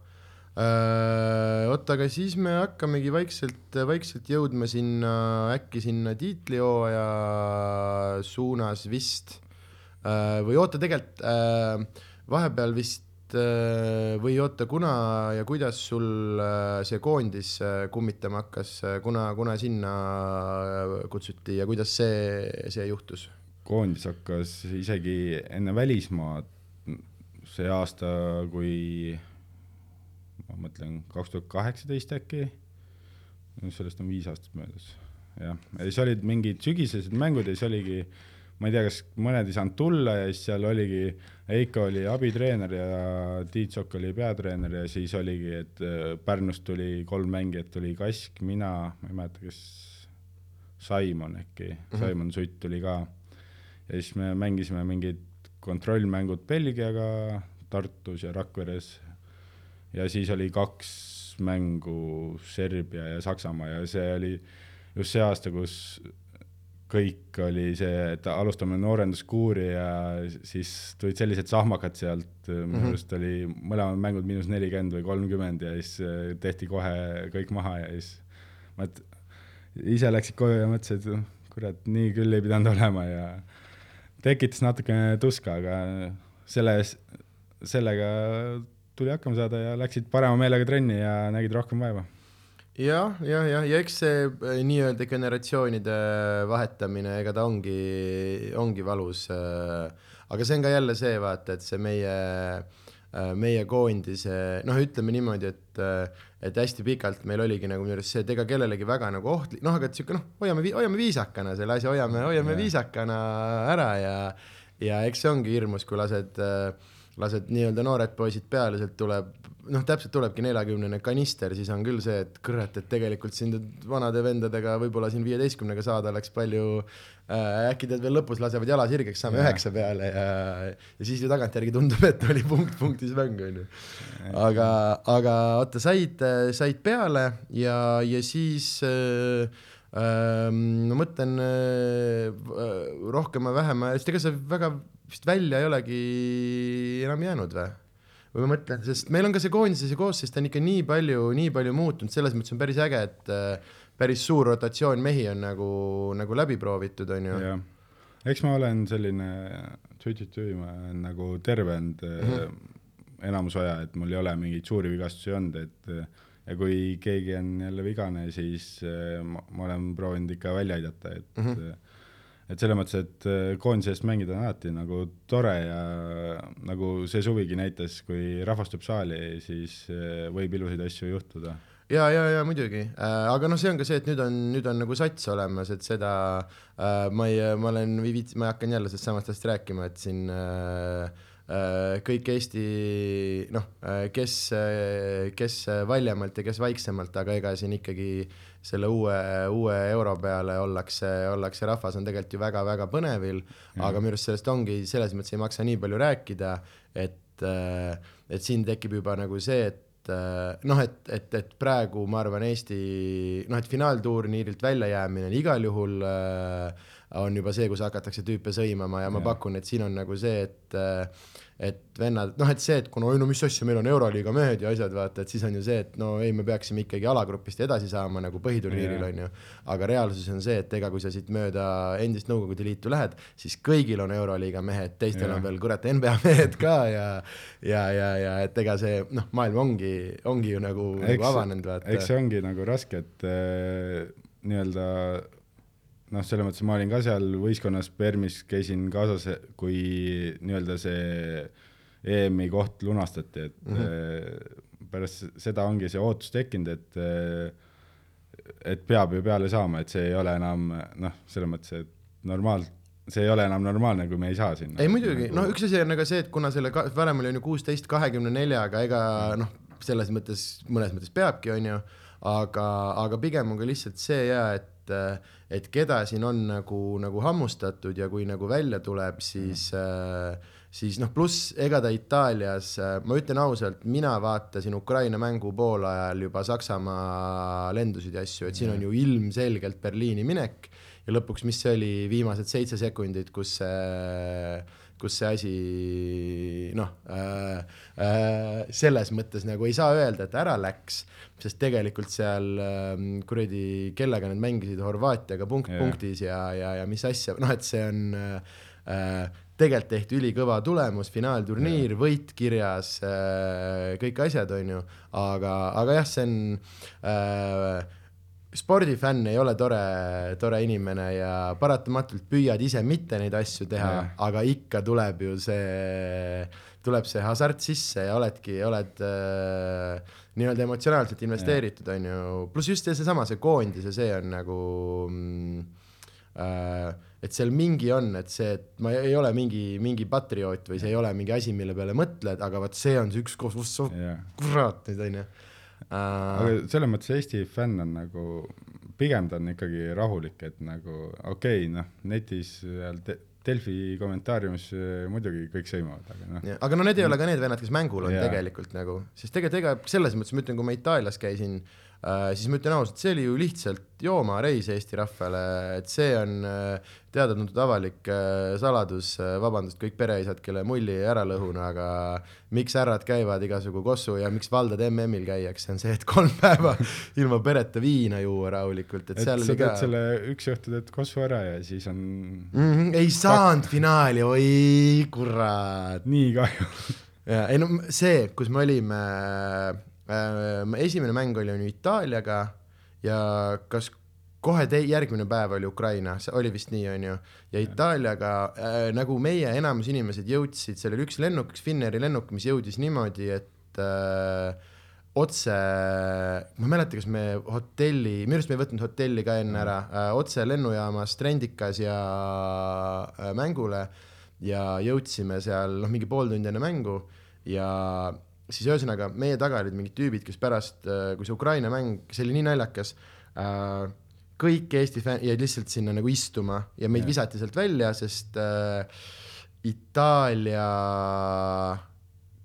S1: oot , aga siis me hakkamegi vaikselt , vaikselt jõudma sinna , äkki sinna tiitlihooaja suunas vist . või oota , tegelikult öö, vahepeal vist öö, või oota , kuna ja kuidas sul öö, see koondis öö, kummitama hakkas , kuna , kuna sinna öö, kutsuti ja kuidas see , see juhtus ?
S2: koondis hakkas isegi enne välismaad see aasta , kui ma mõtlen kaks tuhat kaheksateist äkki , sellest on viis aastat möödas , jah , ja siis olid mingid sügisesed mängud ja siis oligi , ma ei tea , kas mõned ei saanud tulla ja siis seal oligi , Eiko oli abitreener ja Tiit Sokk oli peatreener ja siis oligi , et äh, Pärnust tuli kolm mängijat , tuli Kask , mina , ma ei mäleta , kes Simon äkki mm , -hmm. Simon Sutt tuli ka . ja siis me mängisime mingid kontrollmängud Belgiaga Tartus ja Rakveres . ja siis oli kaks mängu Serbia ja Saksamaa ja see oli just see aasta , kus kõik oli see , et alustame noorenduskuuri ja siis tulid sellised sahmakad sealt , minu arust mm -hmm. oli mõlemad mängud miinus nelikümmend või kolmkümmend ja siis äh, tehti kohe kõik maha ja siis ma et ise läksid koju ja mõtlesid , et kurat , nii küll ei pidanud olema ja tekitas natukene tuska , aga selles , sellega tuli hakkama saada ja läksid parema meelega trenni ja nägid rohkem vaeva .
S1: jah , jah , jah , ja eks see eh, nii-öelda generatsioonide vahetamine , ega ta ongi , ongi valus . aga see on ka jälle see , vaata , et see meie , meie koondise , noh , ütleme niimoodi , et , et hästi pikalt meil oligi nagu minu arust see , et ega kellelegi väga nagu ohtlik , noh , aga et sihuke noh , hoiame , hoiame viisakana selle asja , hoiame , hoiame viisakana ära ja , ja eks see ongi hirmus , kui lased äh, lased nii-öelda noored poisid peale , sealt tuleb , noh , täpselt tulebki neljakümnene kanister , siis on küll see , et kurat , et tegelikult siin nüüd vanade vendadega võib-olla siin viieteistkümnega saada oleks palju äh, , äkki tead veel lõpus lasevad jala sirgeks , saame
S2: Jaa.
S1: üheksa peale ja , ja siis ju tagantjärgi tundub , et oli punkt punktis mäng , onju . aga , aga oota , said , said peale ja , ja siis äh, ähm, ma mõtlen äh, rohkema , vähema , sest ega sa väga vist välja ei olegi enam jäänud või ? või ma mõtlen , sest meil on ka see koondise see koosseis , ta on ikka nii palju , nii palju muutunud , selles mõttes on päris äge , et äh, päris suur rotatsioon mehi on nagu , nagu läbi proovitud , on ju .
S2: jah , eks ma olen selline tüü-tüü-tüü , ma olen nagu terve olnud mm
S1: Mhm.
S2: -hmm. enamus aja , et mul ei ole mingeid suuri vigastusi olnud , et äh, ja kui keegi on jälle vigane , siis äh, ma, ma olen proovinud ikka välja aidata , et
S1: Mhm.
S2: mm , -hmm. et selles mõttes , et äh, koondise eest mängida on alati nagu tore ja nagu see suvigi näitas , kui rahvas tuleb saali , siis äh, võib ilusaid asju juhtuda .
S1: ja , ja , ja muidugi , aga noh , see on ka see , et nüüd on , nüüd on nagu sats olemas , et seda äh, ma ei , ma olen , ma hakkan jälle sellest samast asjast rääkima , et siin äh, äh, kõik Eesti noh , kes , kes valjemalt ja kes vaiksemalt , aga ega siin ikkagi selle uue , uue euro peale ollakse , ollakse rahvas on tegelikult ju väga-väga põnevil , aga minu arust sellest ongi , selles mõttes ei maksa nii palju rääkida , et , et siin tekib juba nagu see , et et noh , et , et , et praegu ma arvan , Eesti noh , et finaalturniirilt väljajäämine on igal juhul äh, on juba see , kus hakatakse tüüpe sõimama ja ma
S2: Jah.
S1: pakun , et siin on nagu see , et äh, et vennad , noh , et see , et kuna oi no mis asja , meil on Euroliiga mehed ja asjad , vaata , et siis on ju see , et no ei , me peaksime ikkagi alagrupist edasi saama nagu põhiturniiril
S2: Jah.
S1: on ju . aga reaalsus on see , et ega kui sa siit mööda endist Nõukogude Liitu lähed , siis kõigil on Euroliiga mehed , teistel
S2: Jah.
S1: on veel kurat NBA mehed ka ja , ja , ja , ja et ega see noh , maailm ongi , ongi ju nagu, nagu avanenud ,
S2: eks
S1: vaata .
S2: see ongi nagu raske , et äh, nii-öelda noh , selles mõttes ma olin ka seal võistkonnas Permis , käisin kaasas , kui nii-öelda see EM-i koht lunastati , et
S1: Mhm.
S2: mm -hmm. pärast seda ongi see ootus tekkinud , et äh, et peab ju peale saama , et see ei ole enam noh , selles mõttes , et normaal , see ei ole enam normaalne , kui me ei saa sinna .
S1: ei muidugi , noh , üks asi on aga see , et kuna selle ka- varem oli on ju kuusteist kahekümne neljaga , ega noh , selles mõttes mõnes mõttes peabki , on ju , aga , aga pigem on ka lihtsalt see ja et et keda siin on nagu , nagu hammustatud ja kui nagu välja tuleb , siis mm. siis noh , pluss ega ta Itaalias , ma ütlen ausalt , mina vaatasin Ukraina mängu poolajal juba Saksamaa lendusid ja asju , et siin on ju ilmselgelt Berliini minek ja lõpuks , mis see oli , viimased seitse sekundit , kus see , kus see asi noh äh, , äh, selles mõttes nagu ei saa öelda , et ära läks , sest tegelikult seal äh, kuradi , kellega nad mängisid , Horvaatiaga punkt
S2: Jaa.
S1: yeah. punktis ja , ja , ja mis asja , noh , et see on äh, tegelikult tehti ülikõva tulemus , finaalturniir yeah. , võit kirjas äh, , kõik asjad , on ju , aga , aga jah , see on äh, spordifänn ei ole tore , tore inimene ja paratamatult püüad ise mitte neid asju teha
S2: Jah.
S1: yeah. , aga ikka tuleb ju see , tuleb see hasart sisse ja oledki , oled äh, nii-öelda emotsionaalselt investeeritud , on ju , pluss just see- seesama , see koondis ja see on nagu mm, äh, et seal mingi on , et see , et ma ei ole mingi , mingi patrioot või see ei ole mingi asi , mille peale mõtled , aga vot see on see üks koht , kus sa
S2: jah
S1: kurat nüüd on ju . Äh,
S2: aga selles mõttes Eesti fänn on nagu , pigem ta on ikkagi rahulik , et nagu okei okay, , noh , netis seal te, Delfi kommentaariumis äh, muidugi kõik sõimavad , aga noh ,
S1: Ja, aga no need ei ole ka need vennad , kes mängul on
S2: Jaa.
S1: yeah. tegelikult nagu , sest tegelikult ega selles mõttes ma ütlen , kui ma Itaalias käisin äh, , siis ma ütlen ausalt , see oli ju lihtsalt joomareis Eesti rahvale , et see on äh, teada-tuntud avalik äh, saladus , vabandust , kõik pereisad , kelle mulli ei ära lõhuna , aga miks härrad käivad igasugu kossu ja miks valdad MM-il käiakse , on see , et kolm päeva ilma pereta viina juua rahulikult , et
S2: et sa
S1: seal oli
S2: teed
S1: ka
S2: ka... selle üks õhtu teed kossu ära ja siis on
S1: mm -hmm, ei saanud finaali , oi kurat .
S2: nii kahju .
S1: ja ei no see , kus me olime äh, , esimene mäng oli on ju Itaaliaga ja kas kohe tei- , järgmine päev oli Ukraina , see oli vist nii , on ju , ja Itaaliaga äh, nagu meie enamus inimesed jõudsid , seal oli üks lennuk , üks Finnairi lennuk , mis jõudis niimoodi , et äh, otse , ma ei mäleta , kas me hotelli , minu arust me ei võtnud hotelli ka enne ära , otse lennujaamast Rendikas ja äh, mängule ja jõudsime seal noh , mingi pool tundi enne mängu ja siis ühesõnaga meie taga olid mingid tüübid , kes pärast , kui see Ukraina mäng , see oli nii naljakas , kõik Eesti fänn- jäid lihtsalt sinna nagu istuma ja meid
S2: Jah.
S1: visati sealt välja , sest äh, Itaalia ,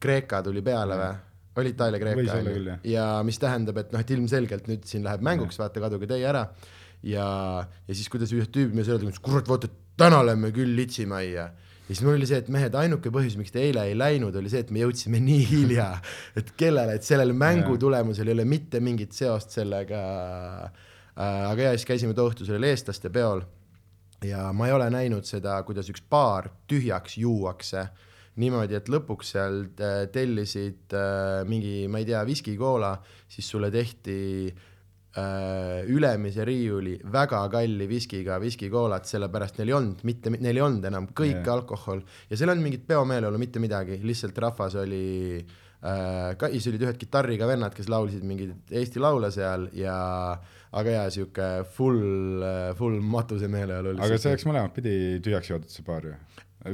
S1: Kreeka tuli peale või ? oli
S2: Võis
S1: Itaalia-Kreeka
S2: olla
S1: on ju?
S2: küll, jah.
S1: ja mis tähendab , et noh , et ilmselgelt nüüd siin läheb mänguks , vaata , kaduge teie ära . ja , ja siis kuidas ühed tüübid meile sõidavad , kurat , vaata täna lähme küll litsimajja . ja siis mul oli see , et mehed , ainuke põhjus , miks te eile ei läinud , oli see , et me jõudsime nii hilja , et kellele , et sellel mängu
S2: Jah.
S1: tulemusel ei ole mitte mingit seost sellega . aga ja siis käisime too õhtu sellel eestlaste peol ja ma ei ole näinud seda , kuidas üks baar tühjaks juuakse niimoodi , et lõpuks seal äh, tellisid äh, mingi , ma ei tea , viskikoola , siis sulle tehti äh, ülemise riiuli väga kalli viskiga viskikoolat , sellepärast neil ei olnud mitte , neil ei olnud enam kõik
S2: Jah.
S1: yeah. alkohol ja seal ei olnud mingit peomeeleolu , mitte midagi , lihtsalt rahvas oli äh, , siis olid ühed kitarriga vennad , kes laulsid mingeid Eesti laule seal ja aga jaa , sihuke full , full matuse meeleolu oli .
S2: aga see oleks mõlemat pidi tühjaks joodud see baar ju .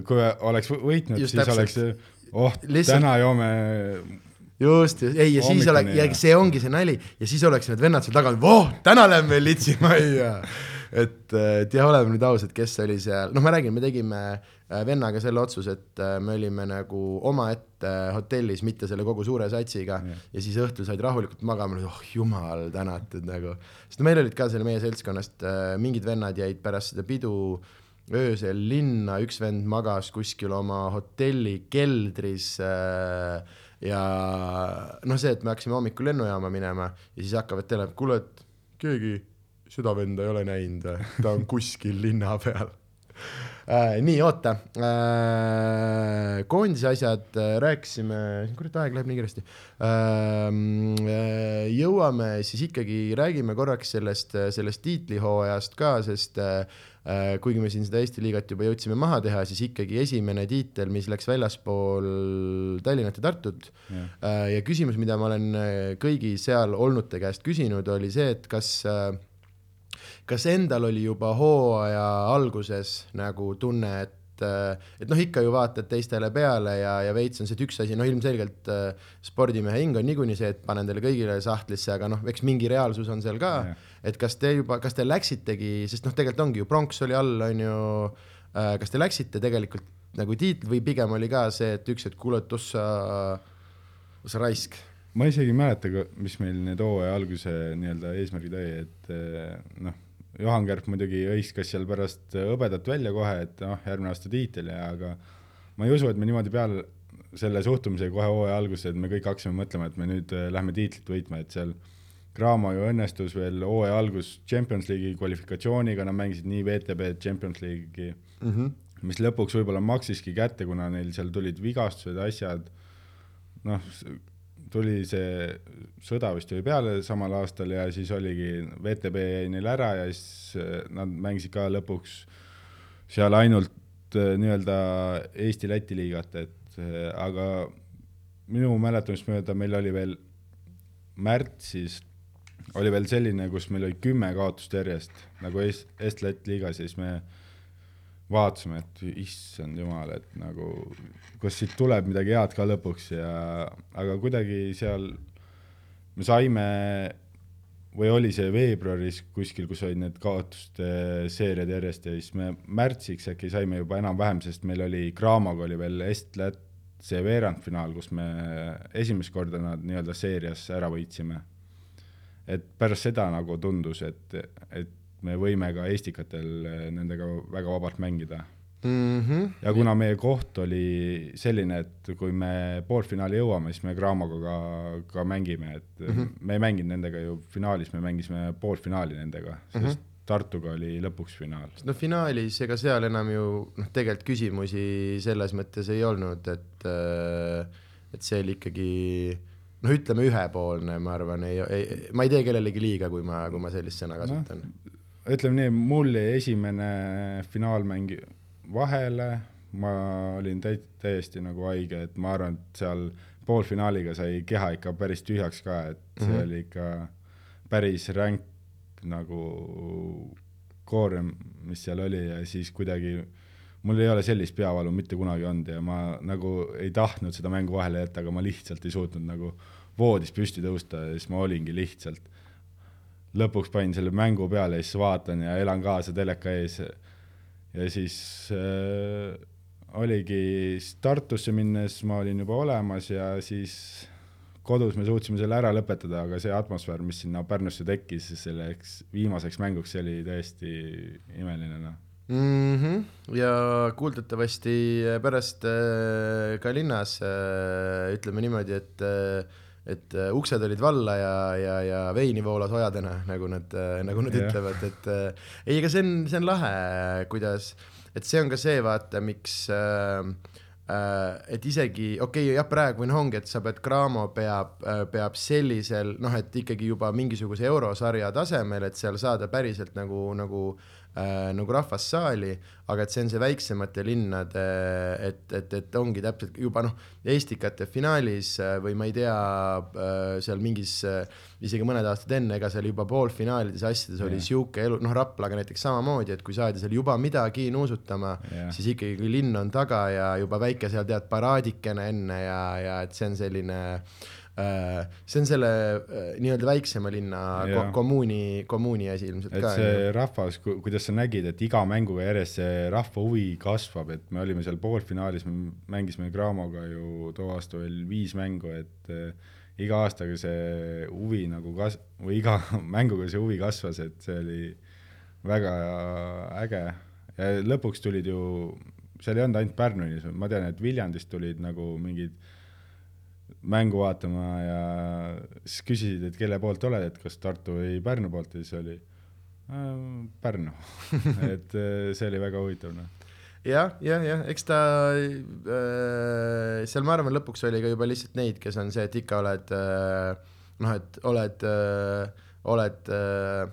S2: kui oleks võ- võitnud ,
S1: Just
S2: siis oleks , oh ,
S1: Lihtsalt-
S2: täna joome ,
S1: just , just , ei ja siis
S2: Hommikuni
S1: oleks , ja
S2: ja-
S1: see ongi see nali ja siis oleks need vennad seal taga , voh , täna lähme litsimajja . et , et jah , oleme nüüd ausad , kes oli seal , noh , ma räägin , me tegime äh, vennaga selle otsuse , et äh, me olime nagu omaette hotellis , mitte selle kogu suure satsiga
S2: Jah.
S1: ja siis õhtul said rahulikult magama , oh jumal tänatud nagu . sest meil olid ka seal meie seltskonnast äh, mingid vennad jäid pärast seda pidu öösel linna , üks vend magas kuskil oma hotelli keldris äh, ja noh , see , et me hakkasime hommikul lennujaama minema ja siis hakkavad tele , kuule , et keegi seda venda ei ole näinud , ta on kuskil linna peal . nii , oota . koondise asjad äh, rääkisime , kurat , aeg läheb nii kiiresti . jõuame siis ikkagi , räägime korraks sellest , sellest tiitlihooajast ka , sest äh, äh, kuigi me siin seda Eesti liigat juba jõudsime maha teha , siis ikkagi esimene tiitel , mis läks väljaspool Tallinnat ja Tartut
S2: jah ,
S1: Äh, ja küsimus , mida ma olen äh, kõigi seal olnute käest küsinud , oli see , et kas , kas endal oli juba hooaja alguses nagu tunne , et , et noh , ikka ju vaatad teistele peale ja , ja veits on see , et üks asi , no ilmselgelt äh, spordimehe hing on niikuinii see , et panen teile kõigile sahtlisse , aga noh , eks mingi reaalsus on seal ka
S2: Jah.
S1: et kas te juba , kas te läksitegi , sest noh , tegelikult ongi ju pronks oli all , on ju . kas te läksite tegelikult nagu tiitl või pigem oli ka see , et üks hetk , kuule , et oh sa , sa raisk .
S2: ma isegi ei mäleta , mis meil need hooaja alguse nii-öelda eesmärgid oli , et eh, noh , Juhan Kärp muidugi hõiskas seal pärast hõbedat välja kohe , et noh , järgmine aasta tiitel ja aga ma ei usu , et me niimoodi peal selle suhtumisega kohe hooaja alguses , et me kõik hakkasime mõtlema , et me nüüd eh, lähme tiitlit võitma , et seal Graamo ju õnnestus veel hooaja algus Champions League'i kvalifikatsiooniga , nad mängisid nii WTB-d , Champions League'i
S1: Mm -hmm.
S2: mis lõpuks võib-olla maksiski kätte , kuna neil seal tulid vigastused , asjad , noh , tuli see sõda vist ju peale samal aastal ja siis oligi , VTB jäi neil ära ja siis eh, nad mängisid ka lõpuks seal ainult eh, nii-öelda Eesti-Läti liigat , et eh, aga minu mäletamist mööda meil oli veel märtsis oli veel selline , kus meil oli kümme kaotust järjest nagu Eest- , Est-Läti liigas ja siis me vaatasime , et issand jumal , et nagu kas siit tuleb midagi head ka lõpuks ja , aga kuidagi seal me saime või oli see veebruaris kuskil , kus olid need kaotuste seeriad järjest ja siis me märtsiks äkki saime juba enam-vähem , sest meil oli Graamaga oli veel Est-Lätt see veerandfinaal , kus me esimest korda nad nii-öelda seerias ära võitsime . et pärast seda nagu tundus , et , et me võime ka Eestikatel nendega väga vabalt mängida .
S1: Mm -hmm.
S2: ja kuna meie koht oli selline , et kui me poolfinaali jõuame , siis me Graamoga ka, ka mängime , et mm -hmm. me ei mänginud nendega ju finaalis , me mängisime poolfinaali nendega , sest mm -hmm. Tartuga oli lõpuks finaal .
S1: no finaalis , ega seal enam ju noh , tegelikult küsimusi selles mõttes ei olnud , et , et see oli ikkagi noh , ütleme ühepoolne , ma arvan , ei, ei , ma ei tee kellelegi liiga , kui ma , kui ma sellist sõna kasutan no. .
S2: ütleme nii , mul jäi esimene finaalmäng vahele , ma olin täi- , täiesti nagu haige , et ma arvan , et seal poolfinaaliga sai keha ikka päris tühjaks ka , et see mm
S1: Mhm.
S2: -hmm. oli ikka päris ränk nagu koorem , mis seal oli ja siis kuidagi mul ei ole sellist peavalu mitte kunagi olnud ja ma nagu ei tahtnud seda mängu vahele jätta, aga ma lihtsalt ei suutnud nagu voodis püsti tõusta ja siis ma olingi lihtsalt lõpuks panin selle mängu peale ja siis vaatan ja elan kaasa teleka ees. ja siis äh, oligi siis Tartusse minnes ma olin juba olemas ja siis kodus me suutsime selle ära lõpetada, aga see atmosfäär, mis sinna Pärnusse tekkis selleks viimaseks mänguks, see oli täiesti imeline noh.
S1: mm . -hmm. ja kuuldetavasti eh, pärast äh, ka linnas äh, ütleme niimoodi , et äh, et äh, uksed olid valla ja , ja , ja veini voolas ojadena , nagu nad , nagu nad
S2: Jah.
S1: ütlevad , et äh, ei , ega see on , see on lahe , kuidas , et see on ka see , vaata , miks äh, äh, et isegi okei okay, , jah , praegu on- ongi , et sa pead , Cramo peab , peab sellisel noh , et ikkagi juba mingisuguse eurosarja tasemel , et seal saada päriselt nagu , nagu äh, nagu rahvassaali , aga et see on see väiksemate linnade , et , et , et ongi täpselt juba noh , Estikate finaalis äh, või ma ei tea , seal mingis äh, isegi mõned aastad enne , ega seal juba poolfinaalides asjades oli
S2: Jah.
S1: sihuke elu , noh , Raplaga näiteks samamoodi , et kui saadi seal juba midagi nuusutama ,
S2: Jah.
S1: siis ikkagi , kui linn on taga ja juba väike seal tead paraadikene enne ja , ja et see on selline äh, see on selle äh, nii-öelda väiksema linna ko
S2: Jah.
S1: kommuuni , kommuuni asi ilmselt
S2: et
S1: ka .
S2: see rahvas , kuidas sa nägid , et iga mänguga järjest see rahva huvi kasvab , et me olime seal poolfinaalis , me mängisime Gramoga ju too aasta veel viis mängu , et äh, iga aastaga see huvi nagu kas- , või iga mänguga see huvi kasvas , et see oli väga äge ja lõpuks tulid ju , seal ei olnud ainult Pärnunis , ma tean , et Viljandist tulid nagu mingid mängu vaatama ja siis küsisid , et kelle poolt oled , et kas Tartu või Pärnu poolt ja siis oli "Ähm, Pärnu , et äh, see oli väga huvitav noh .
S1: jah , jah , jah , eks ta äh, seal , ma arvan , lõpuks oli ka juba lihtsalt neid , kes on see , et ikka oled äh, noh , et oled äh, , oled äh,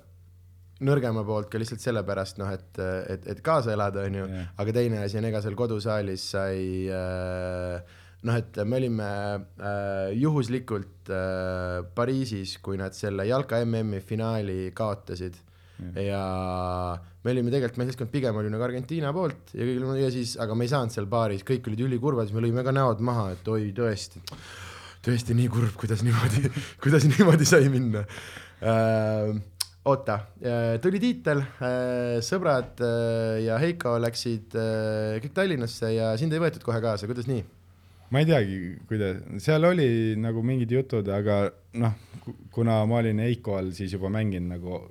S1: nõrgema poolt ka lihtsalt sellepärast noh , et , et , et kaasa elada , onju
S2: Jah. ,
S1: aga teine asi on , ega seal kodusaalis sai äh, noh , et me olime äh, juhuslikult äh, Pariisis , kui nad selle jalka MM-i finaali kaotasid ja me olime tegelikult , meie seltskond pigem oli nagu Argentiina poolt ja kõigil ja siis , aga me ei saanud seal baaris , kõik olid ülikurvad , siis me lõime ka näod maha , et oi tõesti , tõesti nii kurb , kuidas niimoodi , kuidas niimoodi sai minna äh, . oota , tuli tiitel , sõbrad äh, ja Heiko läksid äh, kõik Tallinnasse ja sind ei võetud kohe kaasa , kuidas nii ?
S2: ma ei teagi , kuidas , seal oli nagu mingid jutud , aga noh , kuna ma olin Eiko all siis juba mänginud nagu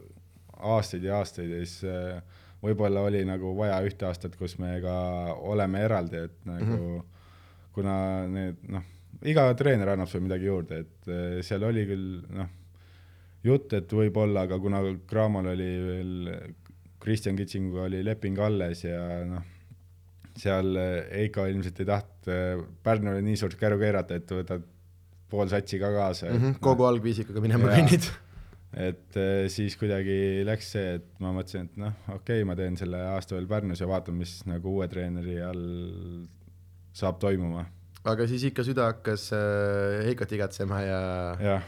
S2: aastaid ja aastaid ja siis äh, võib-olla oli nagu vaja ühte aastat , kus me ka oleme eraldi , et nagu mm -hmm. kuna need noh , iga treener annab sulle midagi juurde , et äh, seal oli küll noh , jutt , et võib-olla , aga kuna Cramol oli veel , Kristjan Kitsinguga oli leping alles ja noh , seal eh, Eiko ilmselt ei tahtnud äh, Pärnule nii suurt käru keerata , et võtad pool satsi ka kaasa
S1: Mm -hmm,
S2: et,
S1: kogu algviisikuga minema
S2: Jaa.
S1: kõnnid .
S2: et eh, siis kuidagi läks see , et ma mõtlesin , et noh , okei okay, , ma teen selle aasta veel Pärnus ja vaatan , mis nagu uue treeneri all saab toimuma .
S1: aga siis ikka süda hakkas äh, Heikot igatsema ja, ja.
S2: jah ,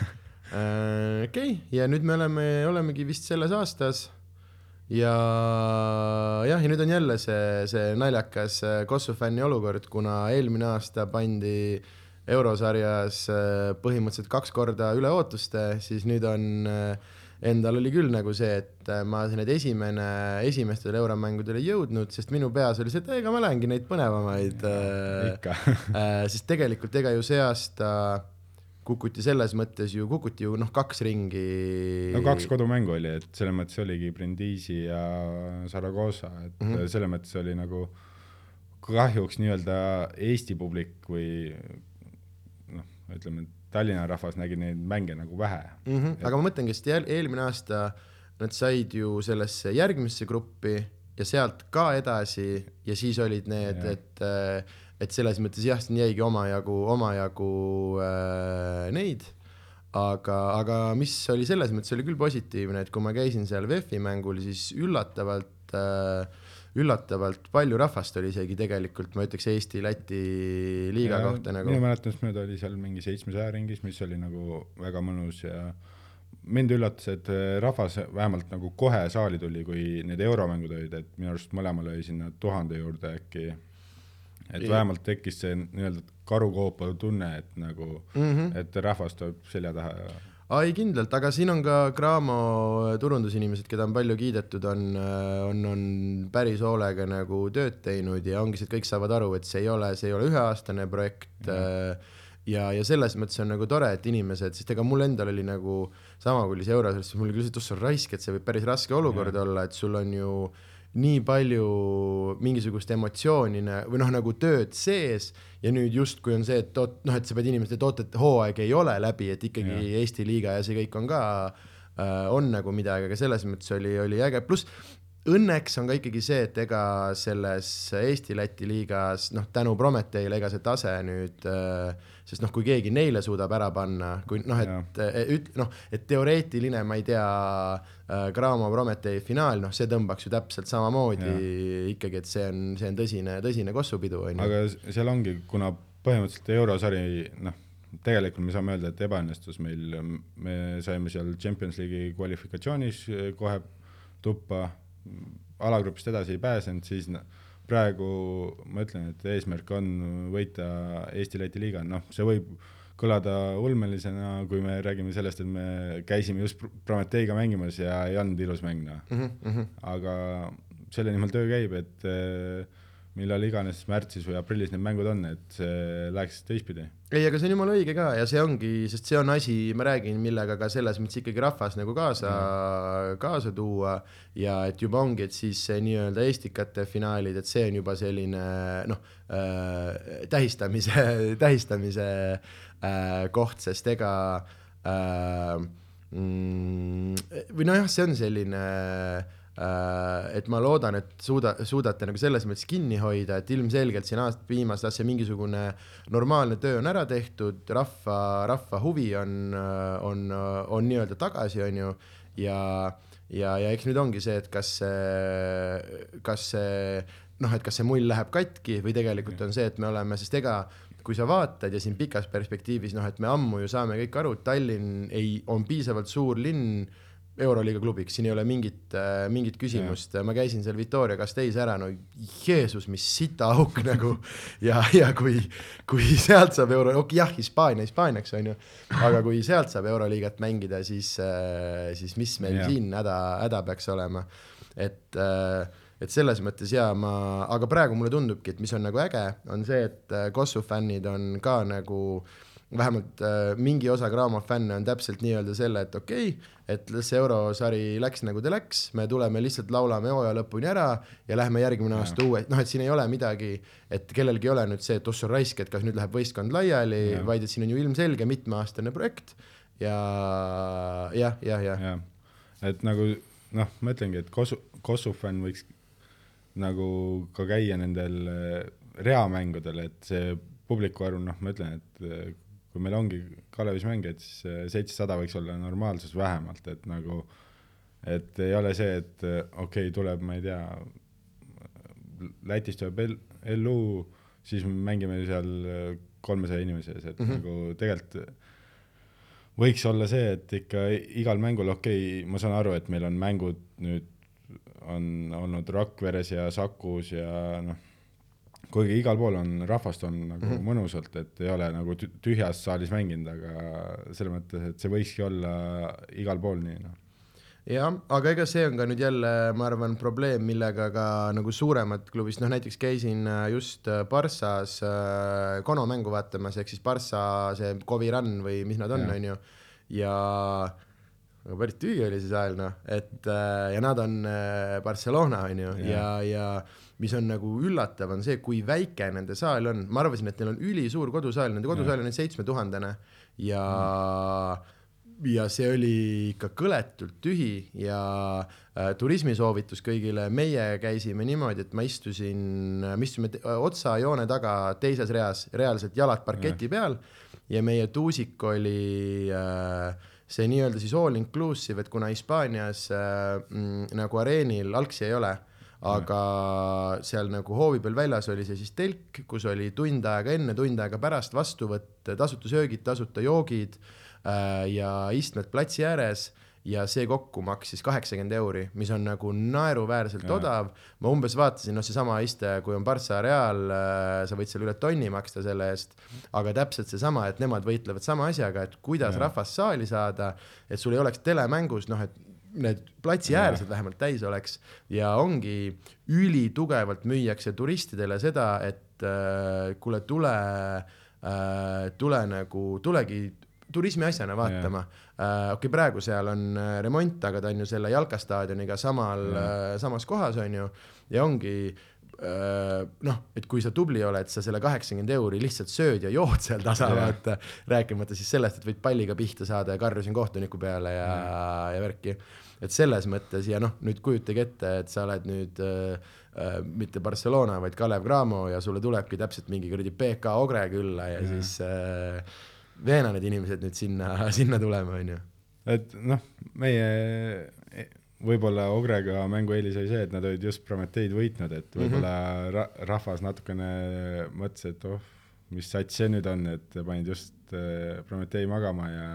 S1: Äh, okei okay. , ja nüüd me oleme , olemegi vist selles aastas . ja jah , ja nüüd on jälle see , see naljakas äh, Kossu fänni olukord , kuna eelmine aasta pandi eurosarjas äh, põhimõtteliselt kaks korda üle ootuste , siis nüüd on , endal oli küll nagu see , et äh, ma siin nüüd esimene , esimestel euromängudel ei jõudnud , sest minu peas oli see , et ega ma lähengi neid põnevamaid äh,
S2: ikka .
S1: Äh, sest tegelikult ega ju see aasta kukuti selles mõttes ju , kukuti ju noh , kaks ringi .
S2: no kaks kodumängu oli , et selles mõttes oligi Brindisi ja Saragossa , et mm
S1: Mhm.
S2: -hmm. selles mõttes oli nagu kahjuks nii-öelda Eesti publik või noh , ütleme , Tallinna rahvas nägi neid mänge nagu vähe .
S1: mm . -hmm. aga ma mõtlengi , sest jäl- eelmine aasta nad said ju sellesse järgmisse gruppi ja sealt ka edasi ja siis olid need ,
S2: Jah.
S1: et , et selles mõttes jah , siin jäigi omajagu , omajagu äh, neid . aga , aga mis oli selles mõttes oli küll positiivne , et kui ma käisin seal VEF-i mängul , siis üllatavalt äh, üllatavalt palju rahvast oli isegi tegelikult , ma ütleks Eesti-Läti liiga kohta nagu .
S2: minu mäletamist mööda oli seal mingi seitsmesaja ringis , mis oli nagu väga mõnus ja mind üllatas , et äh, rahvas vähemalt nagu kohe saali tuli , kui need euromängud olid , et minu arust mõlemal oli sinna tuhande juurde äkki . et
S1: Jah.
S2: vähemalt tekkis see nii-öelda karukoopa tunne , et nagu mm ,
S1: Mhm.
S2: -hmm. et rahvas tuleb selja taha ja
S1: ai kindlalt , aga siin on ka Cramo äh, turundusinimesed , keda on palju kiidetud , on , on , on päris hoolega nagu tööd teinud ja ongi see , et kõik saavad aru , et see ei ole , see ei ole üheaastane projekt äh, ja , ja selles mõttes on nagu tore , et inimesed , sest ega mul endal oli nagu sama , kui oli see euro , siis mul oli lihtsalt , oh sa raisk , et see võib päris raske olukord olla , et sul on ju nii palju mingisugust emotsiooni nä- või noh , nagu tööd sees ja nüüd justkui on see , et oot- , noh , et sa pead inimestele , et oot , et hooaeg ei ole läbi , et ikkagi
S2: Jah.
S1: ja. Eesti liiga ja see kõik on ka , on nagu midagi , aga selles mõttes oli , oli äge , pluss õnneks on ka ikkagi see , et ega selles Eesti-Läti liigas noh , tänu Prometheile ega see tase nüüd , sest noh , kui keegi neile suudab ära panna , kui noh , et
S2: Jah.
S1: et üt- , noh , et teoreetiline , ma ei tea , Graamo Prometee finaal , noh , see tõmbaks ju täpselt samamoodi ikkagi , et see on , see on tõsine , tõsine kossupidu on ju .
S2: aga s- seal ongi , kuna põhimõtteliselt eurosari , noh , tegelikult me saame öelda , et ebaõnnestus meil , me saime seal Champions League'i kvalifikatsioonis eh, kohe tuppa , alagrupist edasi ei pääsenud , siis no, praegu ma ütlen , et eesmärk on võita Eesti-Läti liiga , noh , see võib kõlada ulmelisena , kui me räägime sellest , et me käisime just Pr- Prometheiga mängimas ja ei olnud ilus mäng , noh . aga selle nimel töö käib , et eh, millal iganes märtsis või aprillis need mängud on , et see läheks teistpidi .
S1: ei , aga see on jumala õige ka ja see ongi , sest see on asi , ma räägin , millega ka selles mõttes ikkagi rahvas nagu kaasa , kaasa tuua ja et juba ongi , et siis see nii-öelda Eestikate finaalid , et see on juba selline noh , tähistamise , tähistamise äh, koht , sest ega äh, mm, või nojah , see on selline äh, et ma loodan , et suuda , suudate nagu selles mõttes kinni hoida , et ilmselgelt siin aast- , viimased aastad mingisugune normaalne töö on ära tehtud , rahva , rahva huvi on , on , on nii-öelda tagasi , on ju , ja ja , ja eks nüüd ongi see , et kas see , kas see noh , et kas see mull läheb katki või tegelikult on see , et me oleme , sest ega kui sa vaatad ja siin pikas perspektiivis noh , et me ammu ju saame kõik aru , et Tallinn ei , on piisavalt suur linn euroliiga klubiks , siin ei ole mingit , mingit küsimust , ma käisin seal Victoria Castells ära , no Jeesus , mis sitaauk nagu ja , ja kui , kui sealt saab euro , okei okay, jah , Hispaania Hispaaniaks on ju , aga kui sealt saab euroliigat mängida , siis , siis mis meil
S2: Jah.
S1: siin siin häda , häda peaks olema . et , et selles mõttes ja ma , aga praegu mulle tundubki , et mis on nagu äge , on see , et äh, Kossu fännid on ka nagu vähemalt äh, mingi osa Graamo fänne on täpselt nii-öelda selle , et okei okay, , et las see eurosari läks nagu ta läks , me tuleme lihtsalt laulame hooaja lõpuni ära ja lähme järgmine aasta uue , noh , et siin ei ole midagi , et kellelgi ei ole nüüd see , et oh sa raisk , et kas nüüd läheb võistkond laiali , vaid et siin on ju ilmselge mitmeaastane projekt ja jah , jah , jah
S2: jah , et nagu noh , ma ütlengi , et Kosu , Kosu fänn võiks nagu ka käia nendel eh, reamängudel , et see publiku arv , noh , ma ütlen , et eh, kui meil ongi Kalevis mängijad , siis eh, seitsesada võiks olla normaalsus vähemalt , et nagu , et ei ole see , et eh, okei okay, , tuleb , ma ei tea , Lätis tuleb L- LU , siis me mängime seal eh, kolmesaja inimese ees , et mm -hmm. nagu tegelikult võiks olla see , et ikka igal mängul , okei okay, , ma saan aru , et meil on mängud nüüd on olnud Rakveres ja Sakus ja noh , kuigi igal pool on rahvast on nagu mm -hmm. mõnusalt , et ei ole nagu tü- tühjas saalis mänginud , aga selles mõttes , et see võikski olla igal pool nii noh .
S1: jah , aga ega see on ka nüüd jälle , ma arvan , probleem , millega ka nagu suuremad klubis , noh näiteks käisin äh, just äh, Barssas äh, Kono mängu vaatamas , ehk siis Barssa see Coviran või mis nad on ,
S2: Jah.
S1: on ju , ja aga päris tühi oli see saal noh , et äh, ja nad on äh, Barcelona on ju ja , ja mis on nagu üllatav , on see , kui väike nende saal on , ma arvasin , et neil on ülisuur kodusaal , nende kodusaal on nüüd seitsmetuhandene ja ja see oli ikka kõletult tühi ja äh, turismisoovitus kõigile , meie käisime niimoodi , et ma istusin , me istusime te- äh, otsa joone taga teises reas , reaalselt jalad parketi peal ja meie tuusik oli äh, see nii-öelda siis all inclusive , et kuna Hispaanias äh, mm, nagu areenil algsi ei ole , aga seal nagu hoovi peal väljas oli see siis telk , kus oli tund aega enne , tund aega pärast vastuvõtt , tasuta söögid , tasuta joogid äh, ja istmed platsi ääres ja see kokku maksis kaheksakümmend euri, mis on nagu naeruväärselt
S2: Jaa.
S1: odav. ma umbes vaatasin, noh, seesama iste , kui on Barca Real , sa võid seal üle tonni maksta selle eest , aga täpselt seesama , et nemad võitlevad sama asjaga , et kuidas
S2: Jaa.
S1: rahvast saali saada , et sul ei oleks telemängus , noh , et need platsiäärsed vähemalt täis oleks ja ongi ülitugevalt müüakse turistidele seda , et äh, kuule , tule äh, , tule nagu , tulegi turismiasjana vaatama . okei okay, , praegu seal on äh, remont , aga ta on ju selle jalkastaadioniga samal
S2: Jah.
S1: äh, , samas kohas on ju ja ongi äh, noh , et kui sa tubli oled , sa selle kaheksakümmend euri lihtsalt sööd ja jood seal tasa ,
S2: Jah.
S1: vaata . äh, rääkimata siis sellest , et võid palliga pihta saada ja karjusin kohtuniku peale ja , ja värki . et selles mõttes ja noh , nüüd kujutage ette , et sa oled nüüd äh, äh, mitte Barcelona , vaid Kalev Cramo ja sulle tulebki täpselt mingi kuradi BK Ogre külla ja, ja. siis äh, veena need inimesed nüüd sinna , sinna tulema , onju .
S2: et noh , meie e, võib-olla Ogrega mängueelis oli see , et nad olid just Prometheid võitnud , et võib-olla mm -hmm. ra rahvas natukene mõtles , et oh , mis sats see nüüd on , et panid just äh, Promethei magama ja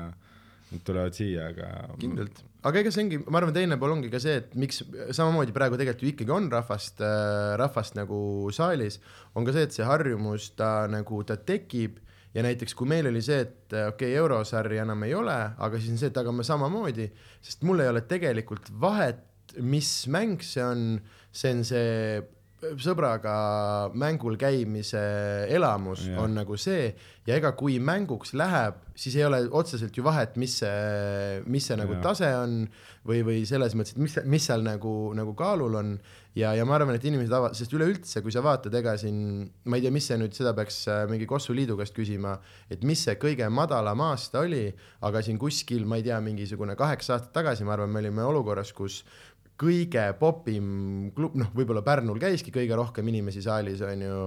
S2: nüüd tulevad siia , aga
S1: kindlalt , aga ega see ongi , ma arvan , teine pool ongi ka see , et miks samamoodi praegu tegelikult ju ikkagi on rahvast , rahvast nagu saalis , on ka see , et see harjumus , ta nagu , ta tekib ja näiteks kui meil oli see , et äh, okei okay, , eurosarja enam ei ole , aga siis on see , et aga me samamoodi , sest mul ei ole tegelikult vahet , mis mäng see on , see on see äh, sõbraga mängul käimise elamus
S2: Jah.
S1: yeah. on nagu see ja ega kui mänguks läheb , siis ei ole otseselt ju vahet , mis see , mis see nagu
S2: Jah.
S1: tase on või , või selles mõttes , et mis , mis seal nagu , nagu kaalul on ja , ja ma arvan , et inimesed ava- , sest üleüldse , kui sa vaatad , ega siin , ma ei tea , mis see nüüd , seda peaks äh, mingi Kossu Liidu käest küsima , et mis see kõige madalam aasta oli , aga siin kuskil , ma ei tea , mingisugune kaheksa aastat tagasi , ma arvan , me olime olukorras , kus kõige popim klub , noh , võib-olla Pärnul käiski kõige rohkem inimesi saalis , on ju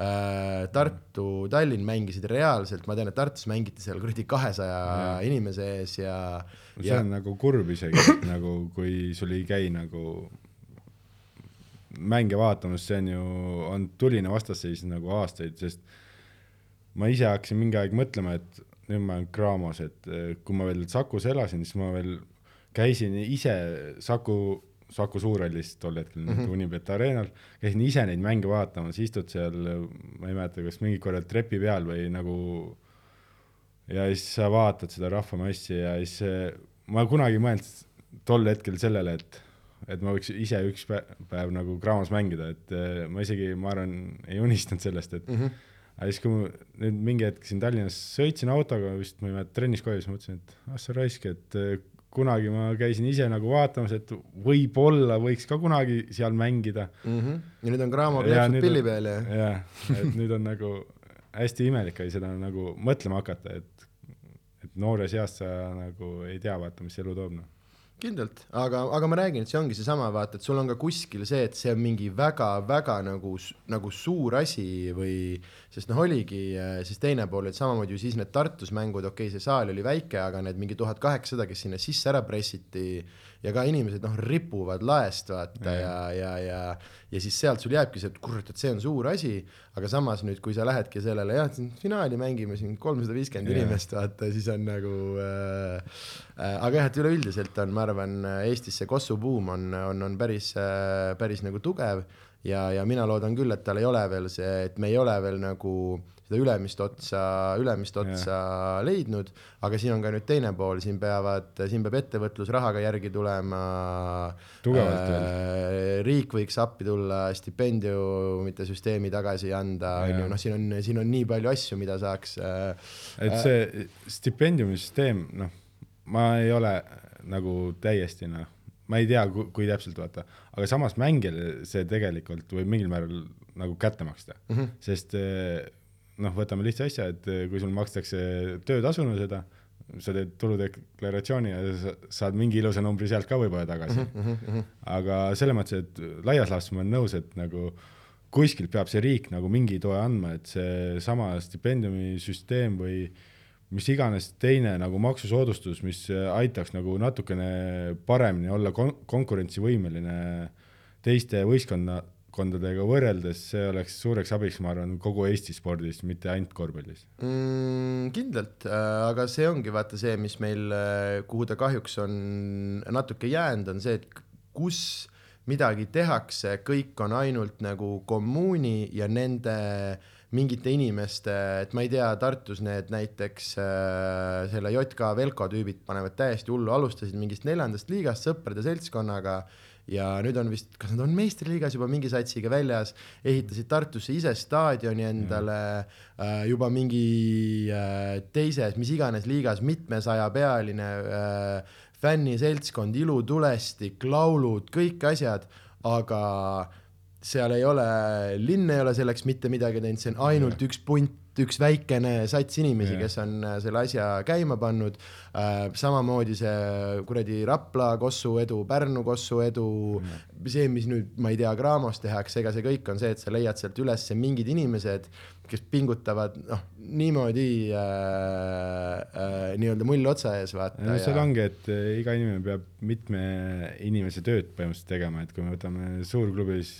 S1: äh, . Tartu , Tallinn mängisid reaalselt , ma tean , et Tartus mängiti seal kuradi kahesaja inimese ees ja .
S2: see on nagu kurb isegi , et nagu kui sul ei käi nagu mänge vaatamas , see on ju , on tuline vastasseis nagu aastaid , sest ma ise hakkasin mingi aeg mõtlema , et nüüd ma olen Kramos , et eh, kui ma veel Sakus elasin , siis ma veel käisin ise Saku , Saku Suurhallis tol hetkel mm -hmm. Unibet Arenal , käisin ise neid mänge vaatamas , istud seal , ma ei mäleta , kas mingi korra trepi peal või nagu ja siis sa vaatad seda rahvamassi ja siis eh, ma kunagi ei mõelnud tol hetkel sellele , et , et ma võiks ise üks pä- päev nagu Kramos mängida , et eh, ma isegi , ma arvan , ei unistanud sellest , et mm -hmm. aga siis , kui ma nüüd mingi hetk siin Tallinnas sõitsin autoga vist , ma ei mäleta , trennis ka oli , siis mõtlesin , et ah sa raisk , et eh, kunagi ma käisin ise nagu vaatamas , et võib-olla võiks ka kunagi seal mängida .
S1: mm . -hmm. ja nüüd on Graamo kleepsud pilli peal ja .
S2: jah , et nüüd on nagu hästi imelik oli seda nagu mõtlema hakata , et , et noores eas sa nagu ei tea , vaata , mis elu toob , noh .
S1: kindlalt , aga , aga ma räägin , et see ongi seesama , vaata , et sul on ka kuskil see , et see on mingi väga-väga nagu , nagu suur asi või , sest noh , oligi äh, siis teine pool , et samamoodi ju siis need Tartus mängud , okei okay, , see saal oli väike , aga need mingi tuhat kaheksasada , kes sinna sisse ära pressiti ja ka inimesed noh , ripuvad laest vaata ja , ja , ja , ja siis sealt sul jääbki see , et kurat , et see on suur asi , aga samas nüüd , kui sa lähedki sellele jah , finaali mängime siin kolmsada viiskümmend
S2: Jah.
S1: inimest , vaata siis on nagu äh, , äh, aga jah , et üleüldiselt on , ma arvan , Eestis see Kossu buum on , on , on päris äh, , päris nagu tugev ja , ja mina loodan küll , et tal ei ole veel see , et me ei ole veel nagu seda ülemist otsa , ülemist otsa yeah. leidnud , aga siin on ka nüüd teine pool , siin peavad , siin peab ettevõtlus rahaga järgi tulema .
S2: Tugevalt veel.
S1: riik võiks appi tulla , stipendiumite süsteemi tagasi anda , on
S2: Jaa.
S1: ju , noh , siin on , siin on nii palju asju , mida saaks äh,
S2: et see stipendiumisüsteem , noh , ma ei ole nagu täiesti , noh , ma ei tea , kui täpselt vaata , aga samas mängijale see tegelikult võib mingil määral nagu kätte maksta mm , -hmm. sest eh, noh , võtame lihtsa asja , et eh, kui sul makstakse töötasuna seda , sa teed tuludeklaratsiooni ja sa saad mingi ilusa numbri sealt ka võib-olla tagasi mm . -hmm. aga selles mõttes , et laias laastus ma olen nõus , et nagu kuskilt peab see riik nagu mingi toe andma , et seesama stipendiumisüsteem või mis iganes teine nagu maksusoodustus , mis aitaks nagu natukene paremini olla kon konkurentsivõimeline teiste võistkonna , valdkondadega võrreldes , see oleks suureks abiks , ma arvan , kogu Eesti spordis , mitte ainult korvpallis .
S1: mm, . kindlalt , aga see ongi vaata see , mis meil , kuhu ta kahjuks on natuke jäänud , on see , et kus midagi tehakse , kõik on ainult nagu kommuuni ja nende mingite inimeste , et ma ei tea , Tartus need näiteks äh, selle JK Velko tüübid panevad täiesti hullu , alustasid mingist neljandast liigast sõprade seltskonnaga ja nüüd on vist , kas nad on meistriliigas juba mingi satsiga väljas , ehitasid Tartusse ise staadioni endale äh, juba mingi äh, teises , mis iganes liigas mitmesajapealine äh, fänniseltskond , ilutulestik , laulud , kõik asjad , aga seal ei ole , linn ei ole selleks mitte midagi teinud , see on ainult üks punt , üks väikene sats inimesi ,
S2: Jah.
S1: kes kes on äh, selle asja käima pannud . samamoodi see kuradi Rapla kossu edu , Pärnu kossu edu , see , mis nüüd , ma ei tea , Graamos tehakse , ega see kõik on see , et sa leiad sealt üles mingid inimesed , kes pingutavad noh , niimoodi äh, äh, nii-öelda mull otsa ees , vaata .
S2: no seal ongi , et äh, iga inimene peab mitme inimese tööd põhimõtteliselt tegema , et kui me võtame suurklubis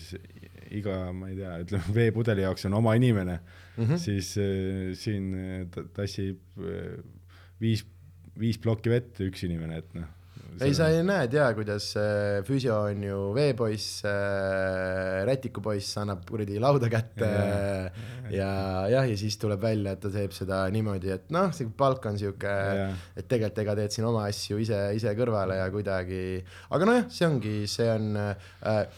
S2: iga , ma ei tea , ütleme veepudeli jaoks on oma inimene mm ,
S1: Mhm.
S2: -hmm. siis äh, siin äh, ta- tassib äh, viis , viis plokki vett üks inimene , et noh .
S1: ei , sa ei näe , tea , kuidas äh, füsio on ju veepoiss , rätikupoiss annab kuradi lauda kätte ja jah , ja siis tuleb välja , et ta teeb seda niimoodi , et noh , see palk on sihuke
S2: Jaa. ,
S1: et tegelikult ega teed siin oma asju ise , ise kõrvale ja kuidagi , aga nojah , see ongi , see on ,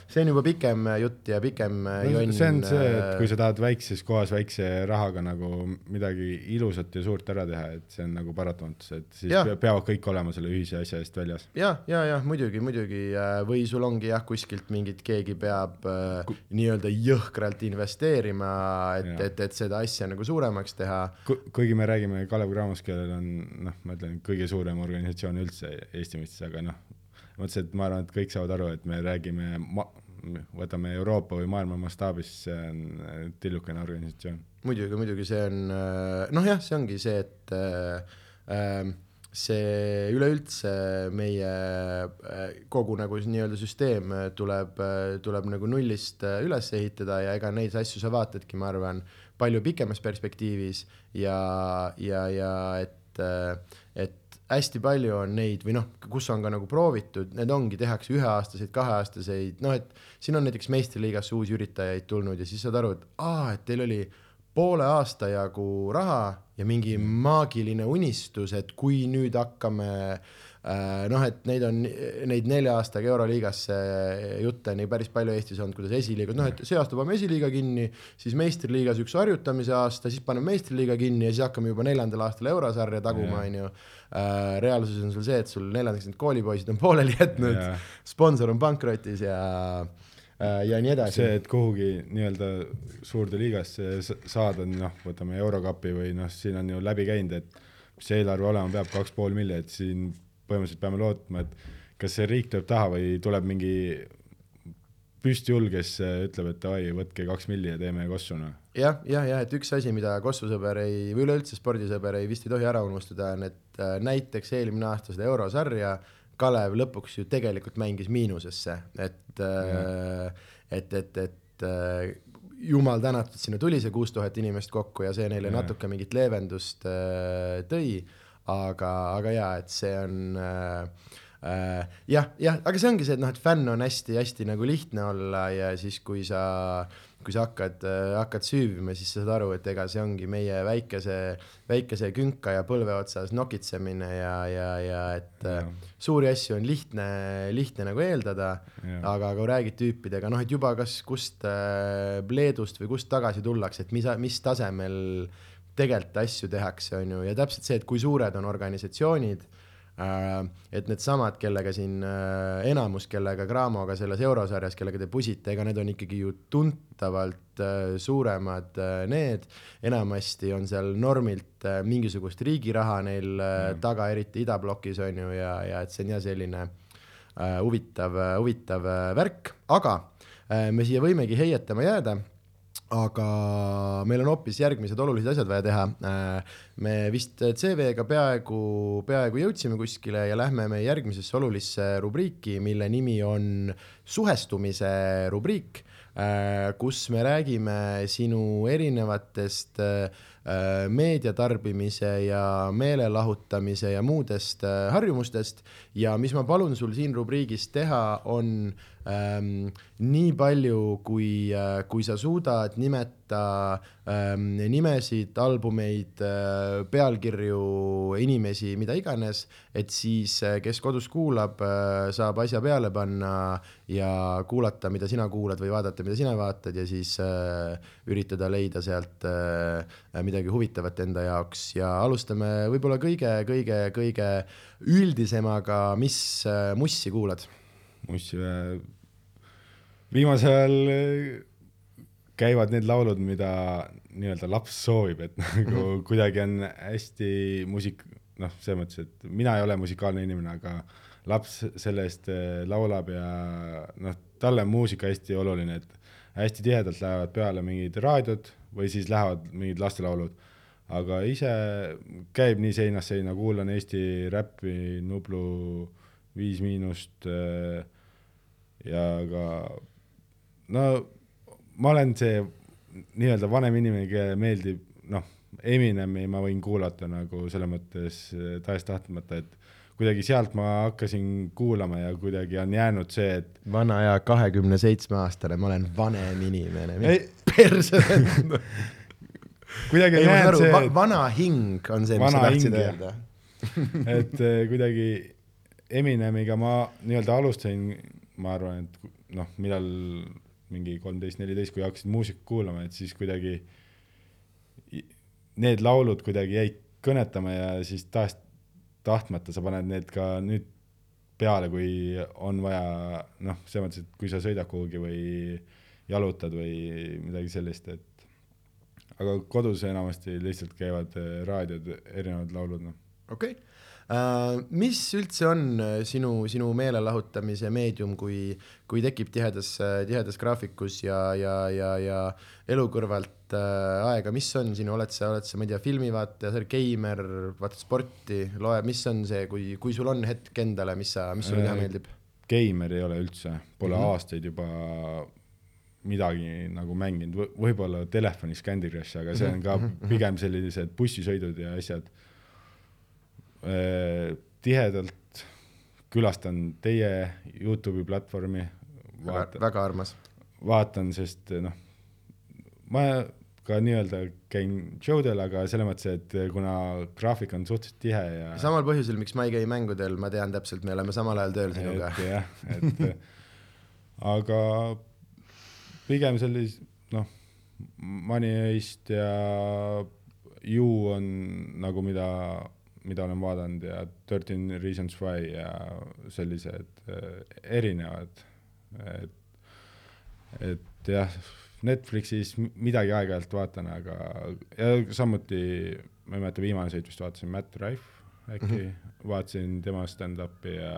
S1: see on juba pikem jutt ja pikem äh,
S2: no,
S1: jonn .
S2: see on see , et kui sa tahad väikses kohas väikse rahaga nagu midagi ilusat ja suurt ära teha , et see on nagu paratamatus , et siis
S1: Jah.
S2: ja. peavad kõik olema selle ühise asja eest väljas .
S1: ja , ja , ja muidugi , muidugi äh, või sul ongi jah , kuskilt mingit , keegi peab äh, nii-öelda jõhkralt investeerima , et ,
S2: Jaa.
S1: et , et seda asja nagu suuremaks teha .
S2: kuigi me räägime Kalev Cramos , kellel on noh , ma ütlen , kõige suurem organisatsioon üldse Eesti mõistes , aga noh , mõtlesin , et ma arvan , et kõik saavad aru , et me räägime ma- , võtame Euroopa või maailma mastaabis , see on äh, tillukene organisatsioon .
S1: muidugi , muidugi see on äh, noh , jah , see ongi see , et äh, äh, see üleüldse meie äh, kogu nagu s- nii-öelda süsteem äh, tuleb , tuleb nagu nullist äh, üles ehitada ja ega neid asju sa vaatadki , ma arvan , palju pikemas perspektiivis ja , ja , ja et , et hästi palju on neid või noh , kus on ka nagu proovitud , need ongi , tehakse üheaastaseid , kaheaastaseid , noh et siin on näiteks meistriliigasse uusi üritajaid tulnud ja siis saad aru , et aa , et teil oli poole aasta jagu raha ja mingi maagiline unistus , et kui nüüd hakkame äh, noh , et neid on , neid nelja aastaga Euroliigasse jutte on ju päris palju Eestis olnud , kuidas esiliigad , noh et see aasta paneme esiliiga kinni , siis meistriliigas üks harjutamise aasta , siis paneme meistriliiga kinni ja siis hakkame juba neljandal aastal eurosarja taguma , onju . reaalsuses on sul see , et sul neljandaks need koolipoisid on pooleli jätnud
S2: Jaa. ,
S1: sponsor on pankrotis ja äh, ja nii edasi .
S2: see , et kuhugi nii-öelda suurde liigasse s- saada , noh , võtame Eurokapi või noh , siin on ju läbi käinud , et mis see eelarve olema peab , kaks pool miljonit , siin põhimõtteliselt peame lootma , et kas see riik tuleb taha või tuleb mingi püstjulg , kes ütleb , et davai , võtke kaks milli ja teeme kossuna .
S1: jah , jah , ja et üks asi , mida kossusõber ei või üleüldse spordisõber ei vist ei tohi ära unustada , on , et äh, näiteks eelmine aasta seda eurosarja Kalev lõpuks ju tegelikult mängis miinusesse , et mm. , et , et , et äh, jumal tänatud , sinna tuli see kuus tuhat inimest kokku ja see neile
S2: Jaa.
S1: natuke mingit leevendust äh, tõi , aga , aga jaa , et see on äh, äh, jah , jah , aga see ongi see , et noh , et fänn on hästi-hästi nagu lihtne olla ja siis , kui sa , kui sa hakkad , hakkad süüvima , siis sa saad aru , et ega see ongi meie väikese , väikese künka ja põlve otsas nokitsemine ja , ja , ja et ja.
S2: Jah.
S1: suuri asju on lihtne , lihtne nagu eeldada ,
S2: Jah.
S1: aga kui räägid tüüpidega , noh , et juba kas kust äh, Leedust või kust tagasi tullakse , et mis , mis tasemel tegelikult asju tehakse , on ju , ja täpselt see , et kui suured on organisatsioonid äh, , et needsamad , kellega siin äh, enamus , kellega Gramoga selles eurosarjas , kellega te pusite , ega need on ikkagi ju tuntavalt äh, suuremad äh, need , enamasti on seal normilt äh, mingisugust riigi raha neil äh, taga , eriti idablokis on ju , ja , ja et see on jah , selline äh, huvitav , huvitav äh, värk , aga äh, me siia võimegi heietama jääda aga meil on hoopis järgmised olulised asjad vaja teha . me vist CV-ga peaaegu , peaaegu jõudsime kuskile ja lähme meie järgmisesse olulisse rubriiki , mille nimi on suhestumise rubriik , Äh, kus me räägime sinu erinevatest äh, meediatarbimise ja meelelahutamise ja muudest äh, harjumustest ja mis ma palun sul siin rubriigis teha , on ähm, nii palju , kui äh, , kui sa suudad nimeta ähm, nimesid , albumeid äh, , pealkirju , inimesi , mida iganes , et siis , kes kodus kuulab äh, , saab asja peale panna ja kuulata , mida sina kuulad või vaadata , mida sina vaatad ja siis äh, üritada leida sealt äh, midagi huvitavat enda jaoks ja alustame võib-olla kõige-kõige-kõige üldisemaga , mis äh, mussi kuulad
S2: Mussi vä- viimasel ajal äh, käivad need laulud , mida nii-öelda laps soovib , et nagu kuidagi on hästi muusik- , noh , selles mõttes , et mina ei ole musikaalne inimene , aga laps selle eest eh, laulab ja noh , talle on muusika hästi oluline , et hästi tihedalt lähevad peale mingid raadiod või siis lähevad mingid lastelaulud . aga ise käib nii seinast seina , kuulan Eesti räppi , Nublu , Viis Miinust eh, ja ka no ma olen see nii-öelda vanem inimene , kellele meeldib noh , Eminemi ma võin kuulata nagu selles mõttes eh, tahes-tahtmata , et kuidagi sealt ma hakkasin kuulama ja kuidagi on jäänud see , et
S1: vana ja kahekümne seitsme aastane , ma olen vanem inimene .
S2: Ei-
S1: perse .
S2: kuidagi on
S1: ei , ma saan
S2: jäänud
S1: aru
S2: see ,
S1: va , vana hing on see , mis sa
S2: Vana
S1: tahtsid
S2: hing, jah.
S1: öelda .
S2: et, et eh, kuidagi Eminemiga ma nii-öelda alustasin , ma arvan , et noh , millal mingi kolmteist , neliteist , kui hakkasin muusikat kuulama , et siis kuidagi i- need laulud kuidagi jäid kõnetama ja siis tahes , tahtmata sa paned need ka nüüd peale , kui on vaja , noh , selles mõttes , et kui sa sõidad kuhugi või jalutad või midagi sellist , et aga kodus enamasti lihtsalt käivad eh, raadiod , erinevad laulud , noh .
S1: okei , mis üldse on äh, sinu , sinu meelelahutamise meedium , kui , kui tekib tihedas , tihedas graafikus ja , ja , ja , ja elu kõrvalt äh, aega , mis on sinu , oled sa , oled sa , ma ei tea , filmivaataja , sa oled geimer , vaatad sporti , loe , mis on see , kui , kui sul on hetk endale , mis sa , mis sulle teha
S2: Äh,
S1: meeldib ?
S2: geimer ei ole üldse , pole mm
S1: Mhm.
S2: -hmm. aastaid juba midagi nagu mänginud v , võib-olla telefonis Candy Crush , aga see on ka pigem sellised bussisõidud ja asjad . tihedalt külastan teie Youtube'i platvormi , vaatan ,
S1: väga armas .
S2: vaatan , sest noh , ma ka nii-öelda käin showdel , aga selles mõttes , et kuna graafik on suhteliselt tihe ja
S1: samal põhjusel , miks ma ei käi mängudel , ma tean täpselt , me oleme samal ajal tööl sinuga .
S2: et jah , et äh, aga pigem sellise noh , Money Heist ja You on nagu mida , mida olen vaadanud ja Thirteen Reasons Why ja sellised eh, erinevad , et , et jah , Netflixis m- midagi aeg-ajalt vaatan , aga ja samuti ma ei mäleta , viimaseid vist vaatasin Matt Rife äkki mm ,
S1: Mhm.
S2: -hmm. vaatasin tema stand-up'i ja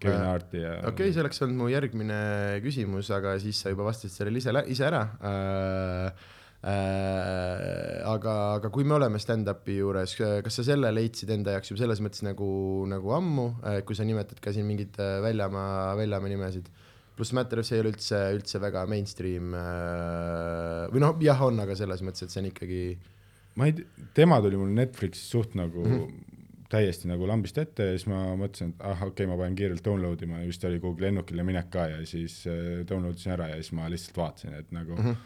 S2: Kevin
S1: Äh,
S2: Harti ja
S1: okei okay, , see oleks olnud mu järgmine küsimus , aga siis sa juba vastasid sellele ise , ise ära äh, . Äh, aga , aga kui me oleme stand-up'i juures , kas sa selle leidsid enda jaoks juba selles mõttes nagu , nagu ammu äh, , kui sa nimetad ka siin mingeid äh, väljamaa , väljamaa nimesid ? pluss Matter of see ei ole üldse , üldse väga mainstream äh, või noh , jah , on , aga selles mõttes , et see on ikkagi
S2: ma ei tea , tema tuli mul Netflixis suht nagu mm -hmm. täiesti nagu lambist ette ja siis ma mõtlesin , et ah okei okay, , ma panen kiirelt download ima , just oli kuhugi lennukile minek ka ja siis äh, download isin ära ja siis ma lihtsalt vaatasin , et nagu mm , -hmm.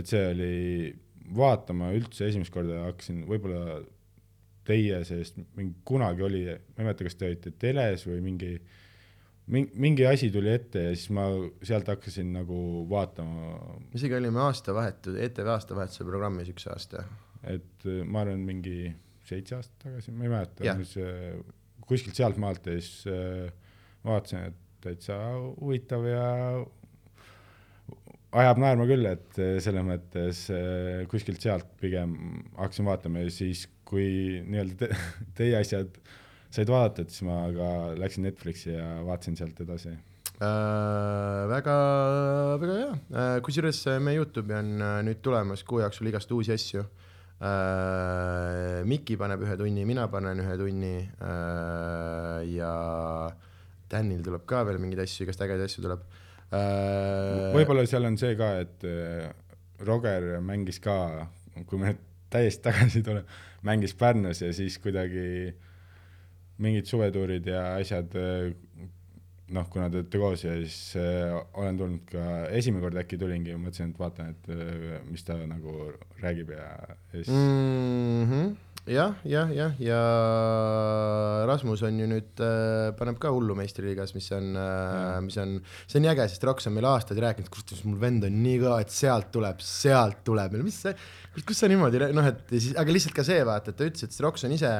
S2: et see oli , vaatama üldse esimest korda hakkasin võib-olla teie seest , mingi kunagi oli , ma ei mäleta , kas te olite teles või mingi mingi, mingi asi tuli ette ja siis ma sealt hakkasin nagu vaatama
S1: isegi olime aastavahetus , ETV E aastavahetuse programmis üks aasta .
S2: et äh, ma arvan , mingi seitse aastat tagasi , ma ei mäleta
S1: Jah. ,
S2: mis äh, kuskilt sealtmaalt ja siis äh, vaatasin , et täitsa huvitav ja ajab naerma küll , et äh, selles mõttes äh, kuskilt sealt pigem hakkasin vaatama ja siis , kui nii-öelda te, teie asjad said vaadatud , siis ma ka läksin Netflixi ja vaatasin sealt edasi .
S1: Äh, väga , väga hea äh, , kusjuures äh, meie Youtube'i on äh, nüüd tulemas kuu jooksul igast uusi asju äh, . Miki paneb ühe tunni , mina panen ühe tunni äh, ja Tänil tuleb ka veel mingeid asju , igast ägedaid asju tuleb äh, .
S2: võib-olla seal on see ka , et äh, Roger mängis ka , kui me täiesti tagasi tuleme , mängis Pärnus ja siis kuidagi mingid suvetuurid ja asjad , noh , kuna te olete koos ja siis äh, olen tulnud ka , esimene kord äkki tulingi ja mõtlesin , et vaatan , et äh, mis ta nagu räägib ja ja siis mm.
S1: Mhm. jah , jah , jah , ja Rasmus on ju nüüd äh, , paneb ka hullu meistriliigas , mis on äh, , mis on , see on äge , sest Roks on meil aastaid rääkinud , kus mul vend on nii kõva , et sealt tuleb , sealt tuleb , mis see , kus sa niimoodi rää- noh , et ja siis , aga lihtsalt ka see vaata , et ta ütles , et see Roks on ise ,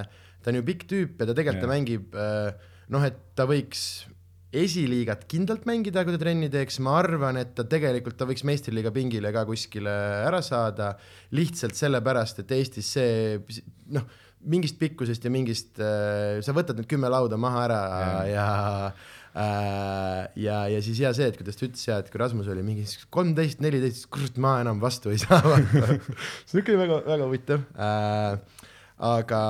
S1: ta on ju pikk tüüp ja ta
S2: Jah.
S1: tegelikult ta mängib äh, noh , et ta võiks esiliigat kindlalt mängida , kui ta trenni teeks , ma arvan , et ta tegelikult , ta võiks meistriliiga pingile ka kuskile ära saada , lihtsalt sellepärast , et Eestis see noh , mingist pikkusest ja mingist , sa võtad need kümme lauda maha ära ja äh, ja , ja siis hea see , et kuidas ta ütles ja et kui Rasmus oli mingi kolmteist , neliteist , siis kurat , ma enam vastu ei saa . see oli väga-väga huvitav äh, aga ,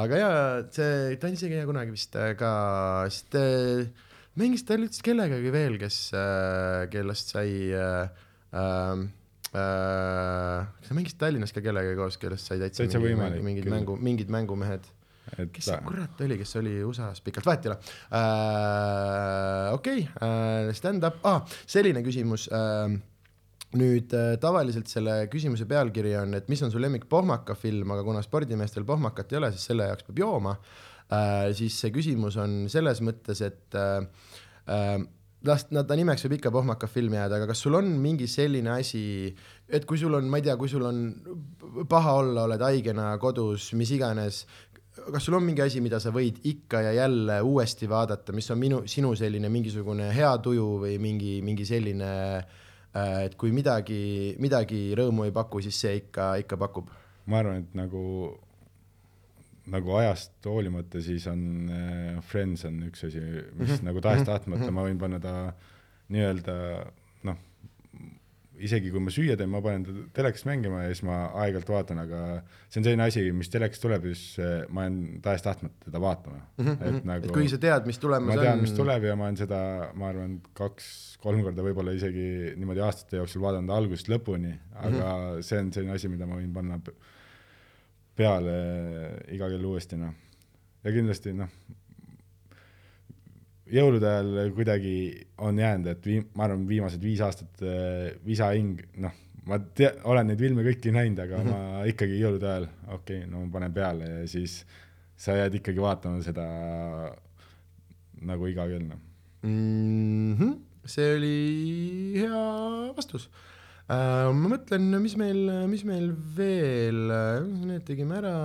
S1: aga jaa , see , ta on isegi hea kunagi vist äh, ka , sest äh, mängis ta üldse kellegagi veel , kes äh, , kellest sai äh, , äh, äh, kas ta mängis Tallinnas ka kellegagi koos , kellest sai täitsa,
S2: Täitsa
S1: mingi-
S2: võimalik,
S1: mingid
S2: küll.
S1: mängu , mingid mängumehed .
S2: et
S1: kes see
S2: ta-
S1: kurat oli , kes oli USA-s pikalt , vahet ei ole äh, . okei okay, , stand-up ah, , selline küsimus äh, . nüüd äh, tavaliselt selle küsimuse pealkiri on , et mis on su lemmik pohmaka film , aga kuna spordimeestel pohmakat ei ole , siis selle jaoks peab jooma äh, . siis see küsimus on selles mõttes , et äh, äh, las nad , ta nimeks võib ikka pohmaka film jääda , aga kas sul on mingi selline asi , et kui sul on , ma ei tea , kui sul on paha olla , oled haigena kodus , mis iganes , kas sul on mingi asi , mida sa võid ikka ja jälle uuesti vaadata , mis on minu , sinu selline mingisugune hea tuju või mingi , mingi selline , et kui midagi , midagi rõõmu ei paku , siis see ikka , ikka pakub .
S2: ma arvan , et nagu , nagu ajast hoolimata , siis on äh, Friends on üks asi , mis nagu tahes-tahtmata ma võin panna ta nii-öelda noh , isegi kui ma süüa teen , ma panen ta telekast mängima ja siis ma aeg-ajalt vaatan , aga see on selline asi , mis telekast tuleb ja siis äh, ma jään tahes-tahtmata teda vaatama . et
S1: et
S2: nagu
S1: kuigi sa tead , mis tulemas
S2: ma tean , mis
S1: on .
S2: tuleb ja ma olen seda , ma arvan , kaks-kolm korda võib-olla isegi niimoodi aastate jooksul vaadanud algusest lõpuni , aga mm -hmm. see on selline asi , mida ma võin panna pe- peale iga kell uuesti , noh . ja kindlasti , noh , jõulude ajal kuidagi on jäänud , et viim- , ma arvan , viimased viis aastat äh, Visa hing , noh , ma tea- , olen neid filme kõiki näinud , aga mm -hmm. ma ikkagi jõulude ajal , okei okay, , no ma panen peale ja siis sa jääd ikkagi vaatama seda nagu iga kell , noh .
S1: see oli hea vastus . ma mõtlen , mis meil , mis meil veel , need tegime ära ,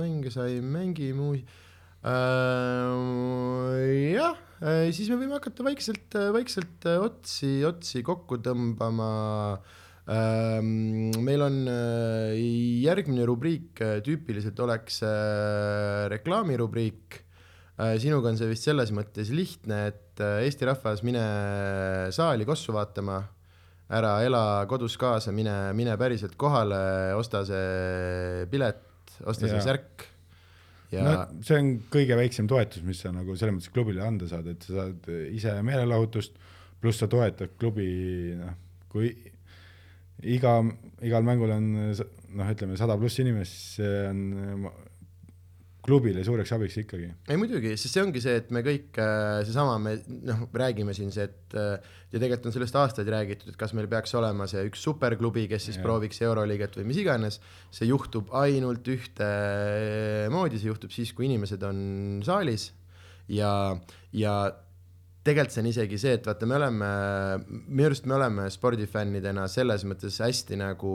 S1: mänge sai , mängime uusi . Äh, jah , siis me võime hakata vaikselt , vaikselt äh, otsi , otsi kokku tõmbama . meil on äh, järgmine rubriik , tüüpiliselt oleks äh, reklaamirubriik . Äh, sinuga on see vist selles mõttes lihtne , et äh, Eesti rahvas , mine saali kossu vaatama ära ela kodus kaasa , mine , mine päriselt kohale , osta see pilet , osta see
S2: Jaa.
S1: särk ja
S2: no see on kõige väiksem toetus , mis sa nagu selles mõttes klubile anda saad , et sa saad ise meelelahutust , pluss sa toetad klubi , noh , kui iga , igal mängul on s- noh , ütleme sada pluss inimest , see on ma- klubile suureks abiks ikkagi .
S1: ei muidugi , sest see ongi see , et me kõik äh, seesama , me noh , räägime siin see , et äh, ja tegelikult on sellest aastaid räägitud , et kas meil peaks olema see üks superklubi , kes siis
S2: Jah.
S1: ja. prooviks Euroliigat või mis iganes . see juhtub ainult ühtemoodi , see juhtub siis , kui inimesed on saalis ja , ja tegelikult see on isegi see , et vaata , me oleme , minu arust me oleme spordifännidena selles mõttes hästi nagu ,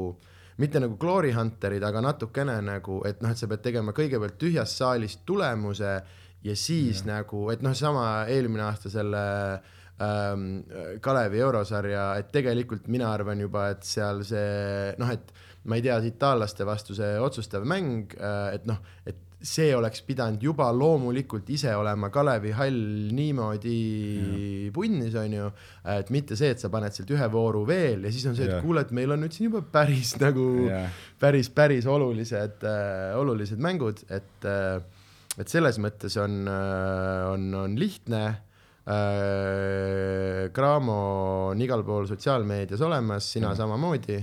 S1: mitte nagu glory hunter'id , aga natukene nagu , et noh , et sa pead tegema kõigepealt tühjast saalist tulemuse ja siis ja. nagu , et noh , sama eelmine aasta selle ähm, Kalevi eurosarja , et tegelikult mina arvan juba , et seal see noh , et ma ei tea , see itaallaste vastu see otsustav mäng , et noh , et see oleks pidanud juba loomulikult ise olema Kalevi hall niimoodi punnis , onju , et mitte see , et sa paned sealt ühe vooru veel ja siis on see , et
S2: Jah.
S1: kuule , et meil on nüüd siin juba päris nagu
S2: Jah.
S1: päris , päris olulised äh, , olulised mängud , et äh, , et selles mõttes on , on , on lihtne äh, . Cramo on igal pool sotsiaalmeedias olemas , sina ja. samamoodi ,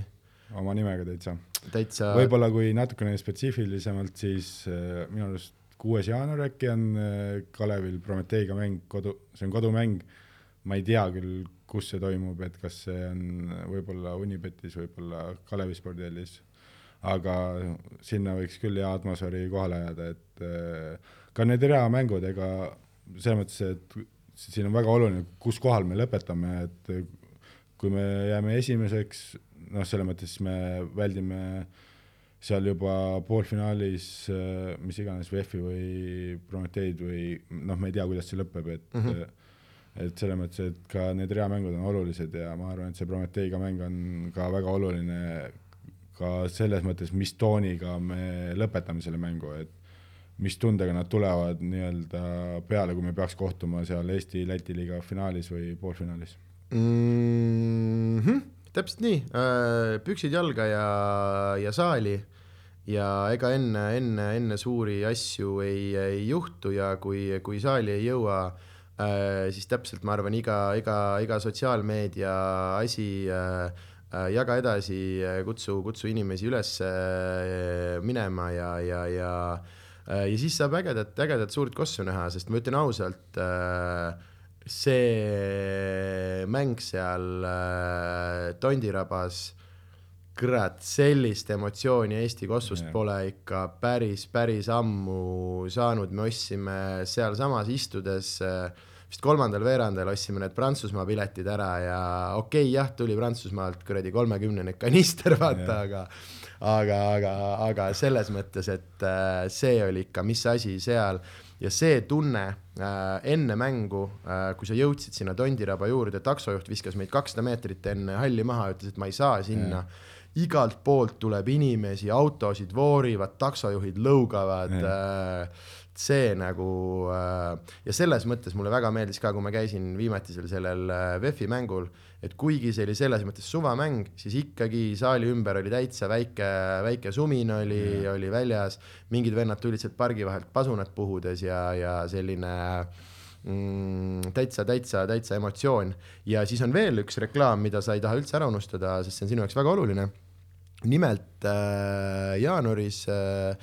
S2: oma nimega täitsa .
S1: täitsa .
S2: võib-olla kui natukene spetsiifilisemalt , siis äh, minu arust kuues jaanuar äkki on äh, Kalevil Prometheiga mäng kodu , see on kodumäng . ma ei tea küll , kus see toimub , et kas see on võib-olla Unibetis , võib-olla Kalevi spordihallis . aga sinna võiks küll hea atmosfääri kohale jääda , et äh, ka need reamängud , ega selles mõttes , et siin on väga oluline , kus kohal me lõpetame , et kui me jääme esimeseks , noh , selles mõttes me väldime seal juba poolfinaalis äh, mis iganes VEF-i või Prometheid või noh , me ei tea , kuidas see lõpeb , et mm , -hmm. et selles mõttes , et ka need reamängud on olulised ja ma arvan , et see Prometheiga mäng on ka väga oluline ka selles mõttes , mis tooniga me lõpetame selle mängu , et mis tundega nad tulevad nii-öelda peale , kui me peaks kohtuma seal Eesti-Läti liiga finaalis või poolfinaalis
S1: mm . -hmm. täpselt nii , püksid jalga ja , ja saali ja ega enne , enne , enne suuri asju ei , ei juhtu ja kui , kui saali ei jõua , siis täpselt ma arvan , iga , iga , iga sotsiaalmeedia asi äh, äh, jaga edasi , kutsu , kutsu inimesi üles äh, minema ja , ja , ja äh, ja siis saab ägedat , ägedat suurt kossu näha , sest ma ütlen ausalt äh, , see mäng seal äh, Tondirabas , kurat , sellist emotsiooni Eesti kossust
S2: Jah.
S1: pole ikka päris , päris ammu saanud , me ostsime sealsamas istudes äh, vist kolmandal veerandal ostsime need Prantsusmaa piletid ära ja okei okay, , jah , tuli Prantsusmaalt kuradi kolmekümnene kanister , vaata ,
S2: Jah.
S1: aga aga , aga , aga selles mõttes , et äh, see oli ikka , mis asi seal ja see tunne äh, enne mängu , kui sa jõudsid sinna Tondiraba juurde , taksojuht viskas meid kakssada meetrit enne halli maha , ütles , et ma ei saa sinna . igalt poolt tuleb inimesi , autosid voorivad , taksojuhid lõugavad äh, see nagu äh, ja selles mõttes mulle väga meeldis ka , kui ma käisin viimatisel sellel äh, VEF-i mängul , et kuigi see oli selles mõttes suvamäng , siis ikkagi saali ümber oli täitsa väike , väike sumin oli yeah. , oli väljas , mingid vennad tulid sealt pargi vahelt pasunad puhudes ja , ja selline mm, täitsa , täitsa , täitsa emotsioon ja siis on veel üks reklaam , mida sa ei taha üldse ära unustada , sest see on sinu jaoks väga oluline nimelt äh, jaanuaris äh,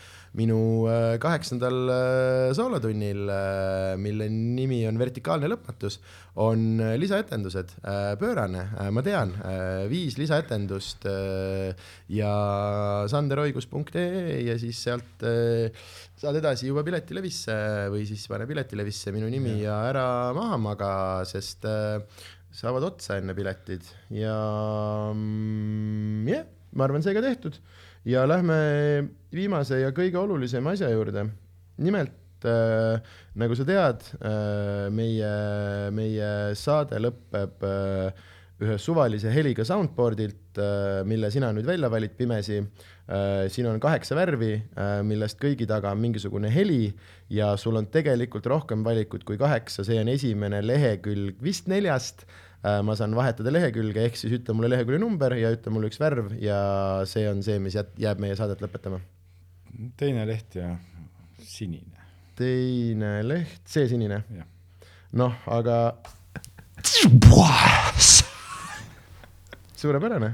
S1: minu äh, kaheksandal äh, soolotunnil äh, , mille nimi on Vertikaalne lõpmatus , on äh, lisaetendused äh, , pöörane äh, , ma tean äh, , viis lisaetendust äh, ja sanderoigus.ee ja siis sealt äh, saad edasi juba piletilevisse või siis pane piletilevisse minu nimi ja, ja ära maha maga , sest äh, saavad otsa enne piletid ja mm, jah yeah, , ma arvan , see ka tehtud ja lähme viimase ja kõige olulisema asja juurde . nimelt äh, nagu sa tead äh, , meie , meie saade lõpeb äh, ühe suvalise heliga soundboard'ilt , mille sina nüüd välja valid pimesi . siin on kaheksa värvi , millest kõigi taga on mingisugune heli ja sul on tegelikult rohkem valikut kui kaheksa , see on esimene lehekülg vist neljast . Äh, ma saan vahetada lehekülge , ehk siis ütle mulle lehekülje number ja ütle mulle üks värv ja see on see , mis jät- jääb meie saadet lõpetama .
S2: teine leht ja sinine ,
S1: teine leht , see sinine ,
S2: jah .
S1: noh , aga suurepärane .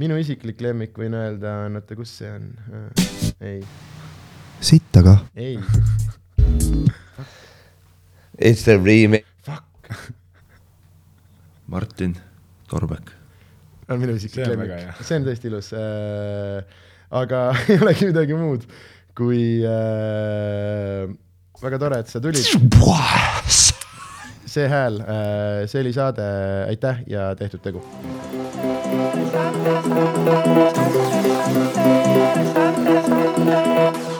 S1: minu isiklik lemmik võin öelda on , oota , kus see on ? ei ,
S3: sitt aga .
S1: ei ,
S4: It's a remake .
S1: fuck ,
S4: Martin Torbek .
S1: on minu
S2: See
S1: isiklik
S2: on väga
S1: lemmik
S2: hea. ,
S1: see on tõesti ilus . aga ei olegi midagi muud , kui äh, väga tore , et sa tulid . see hääl , see oli saade , aitäh ja tehtud tegu .
S5: Thank you.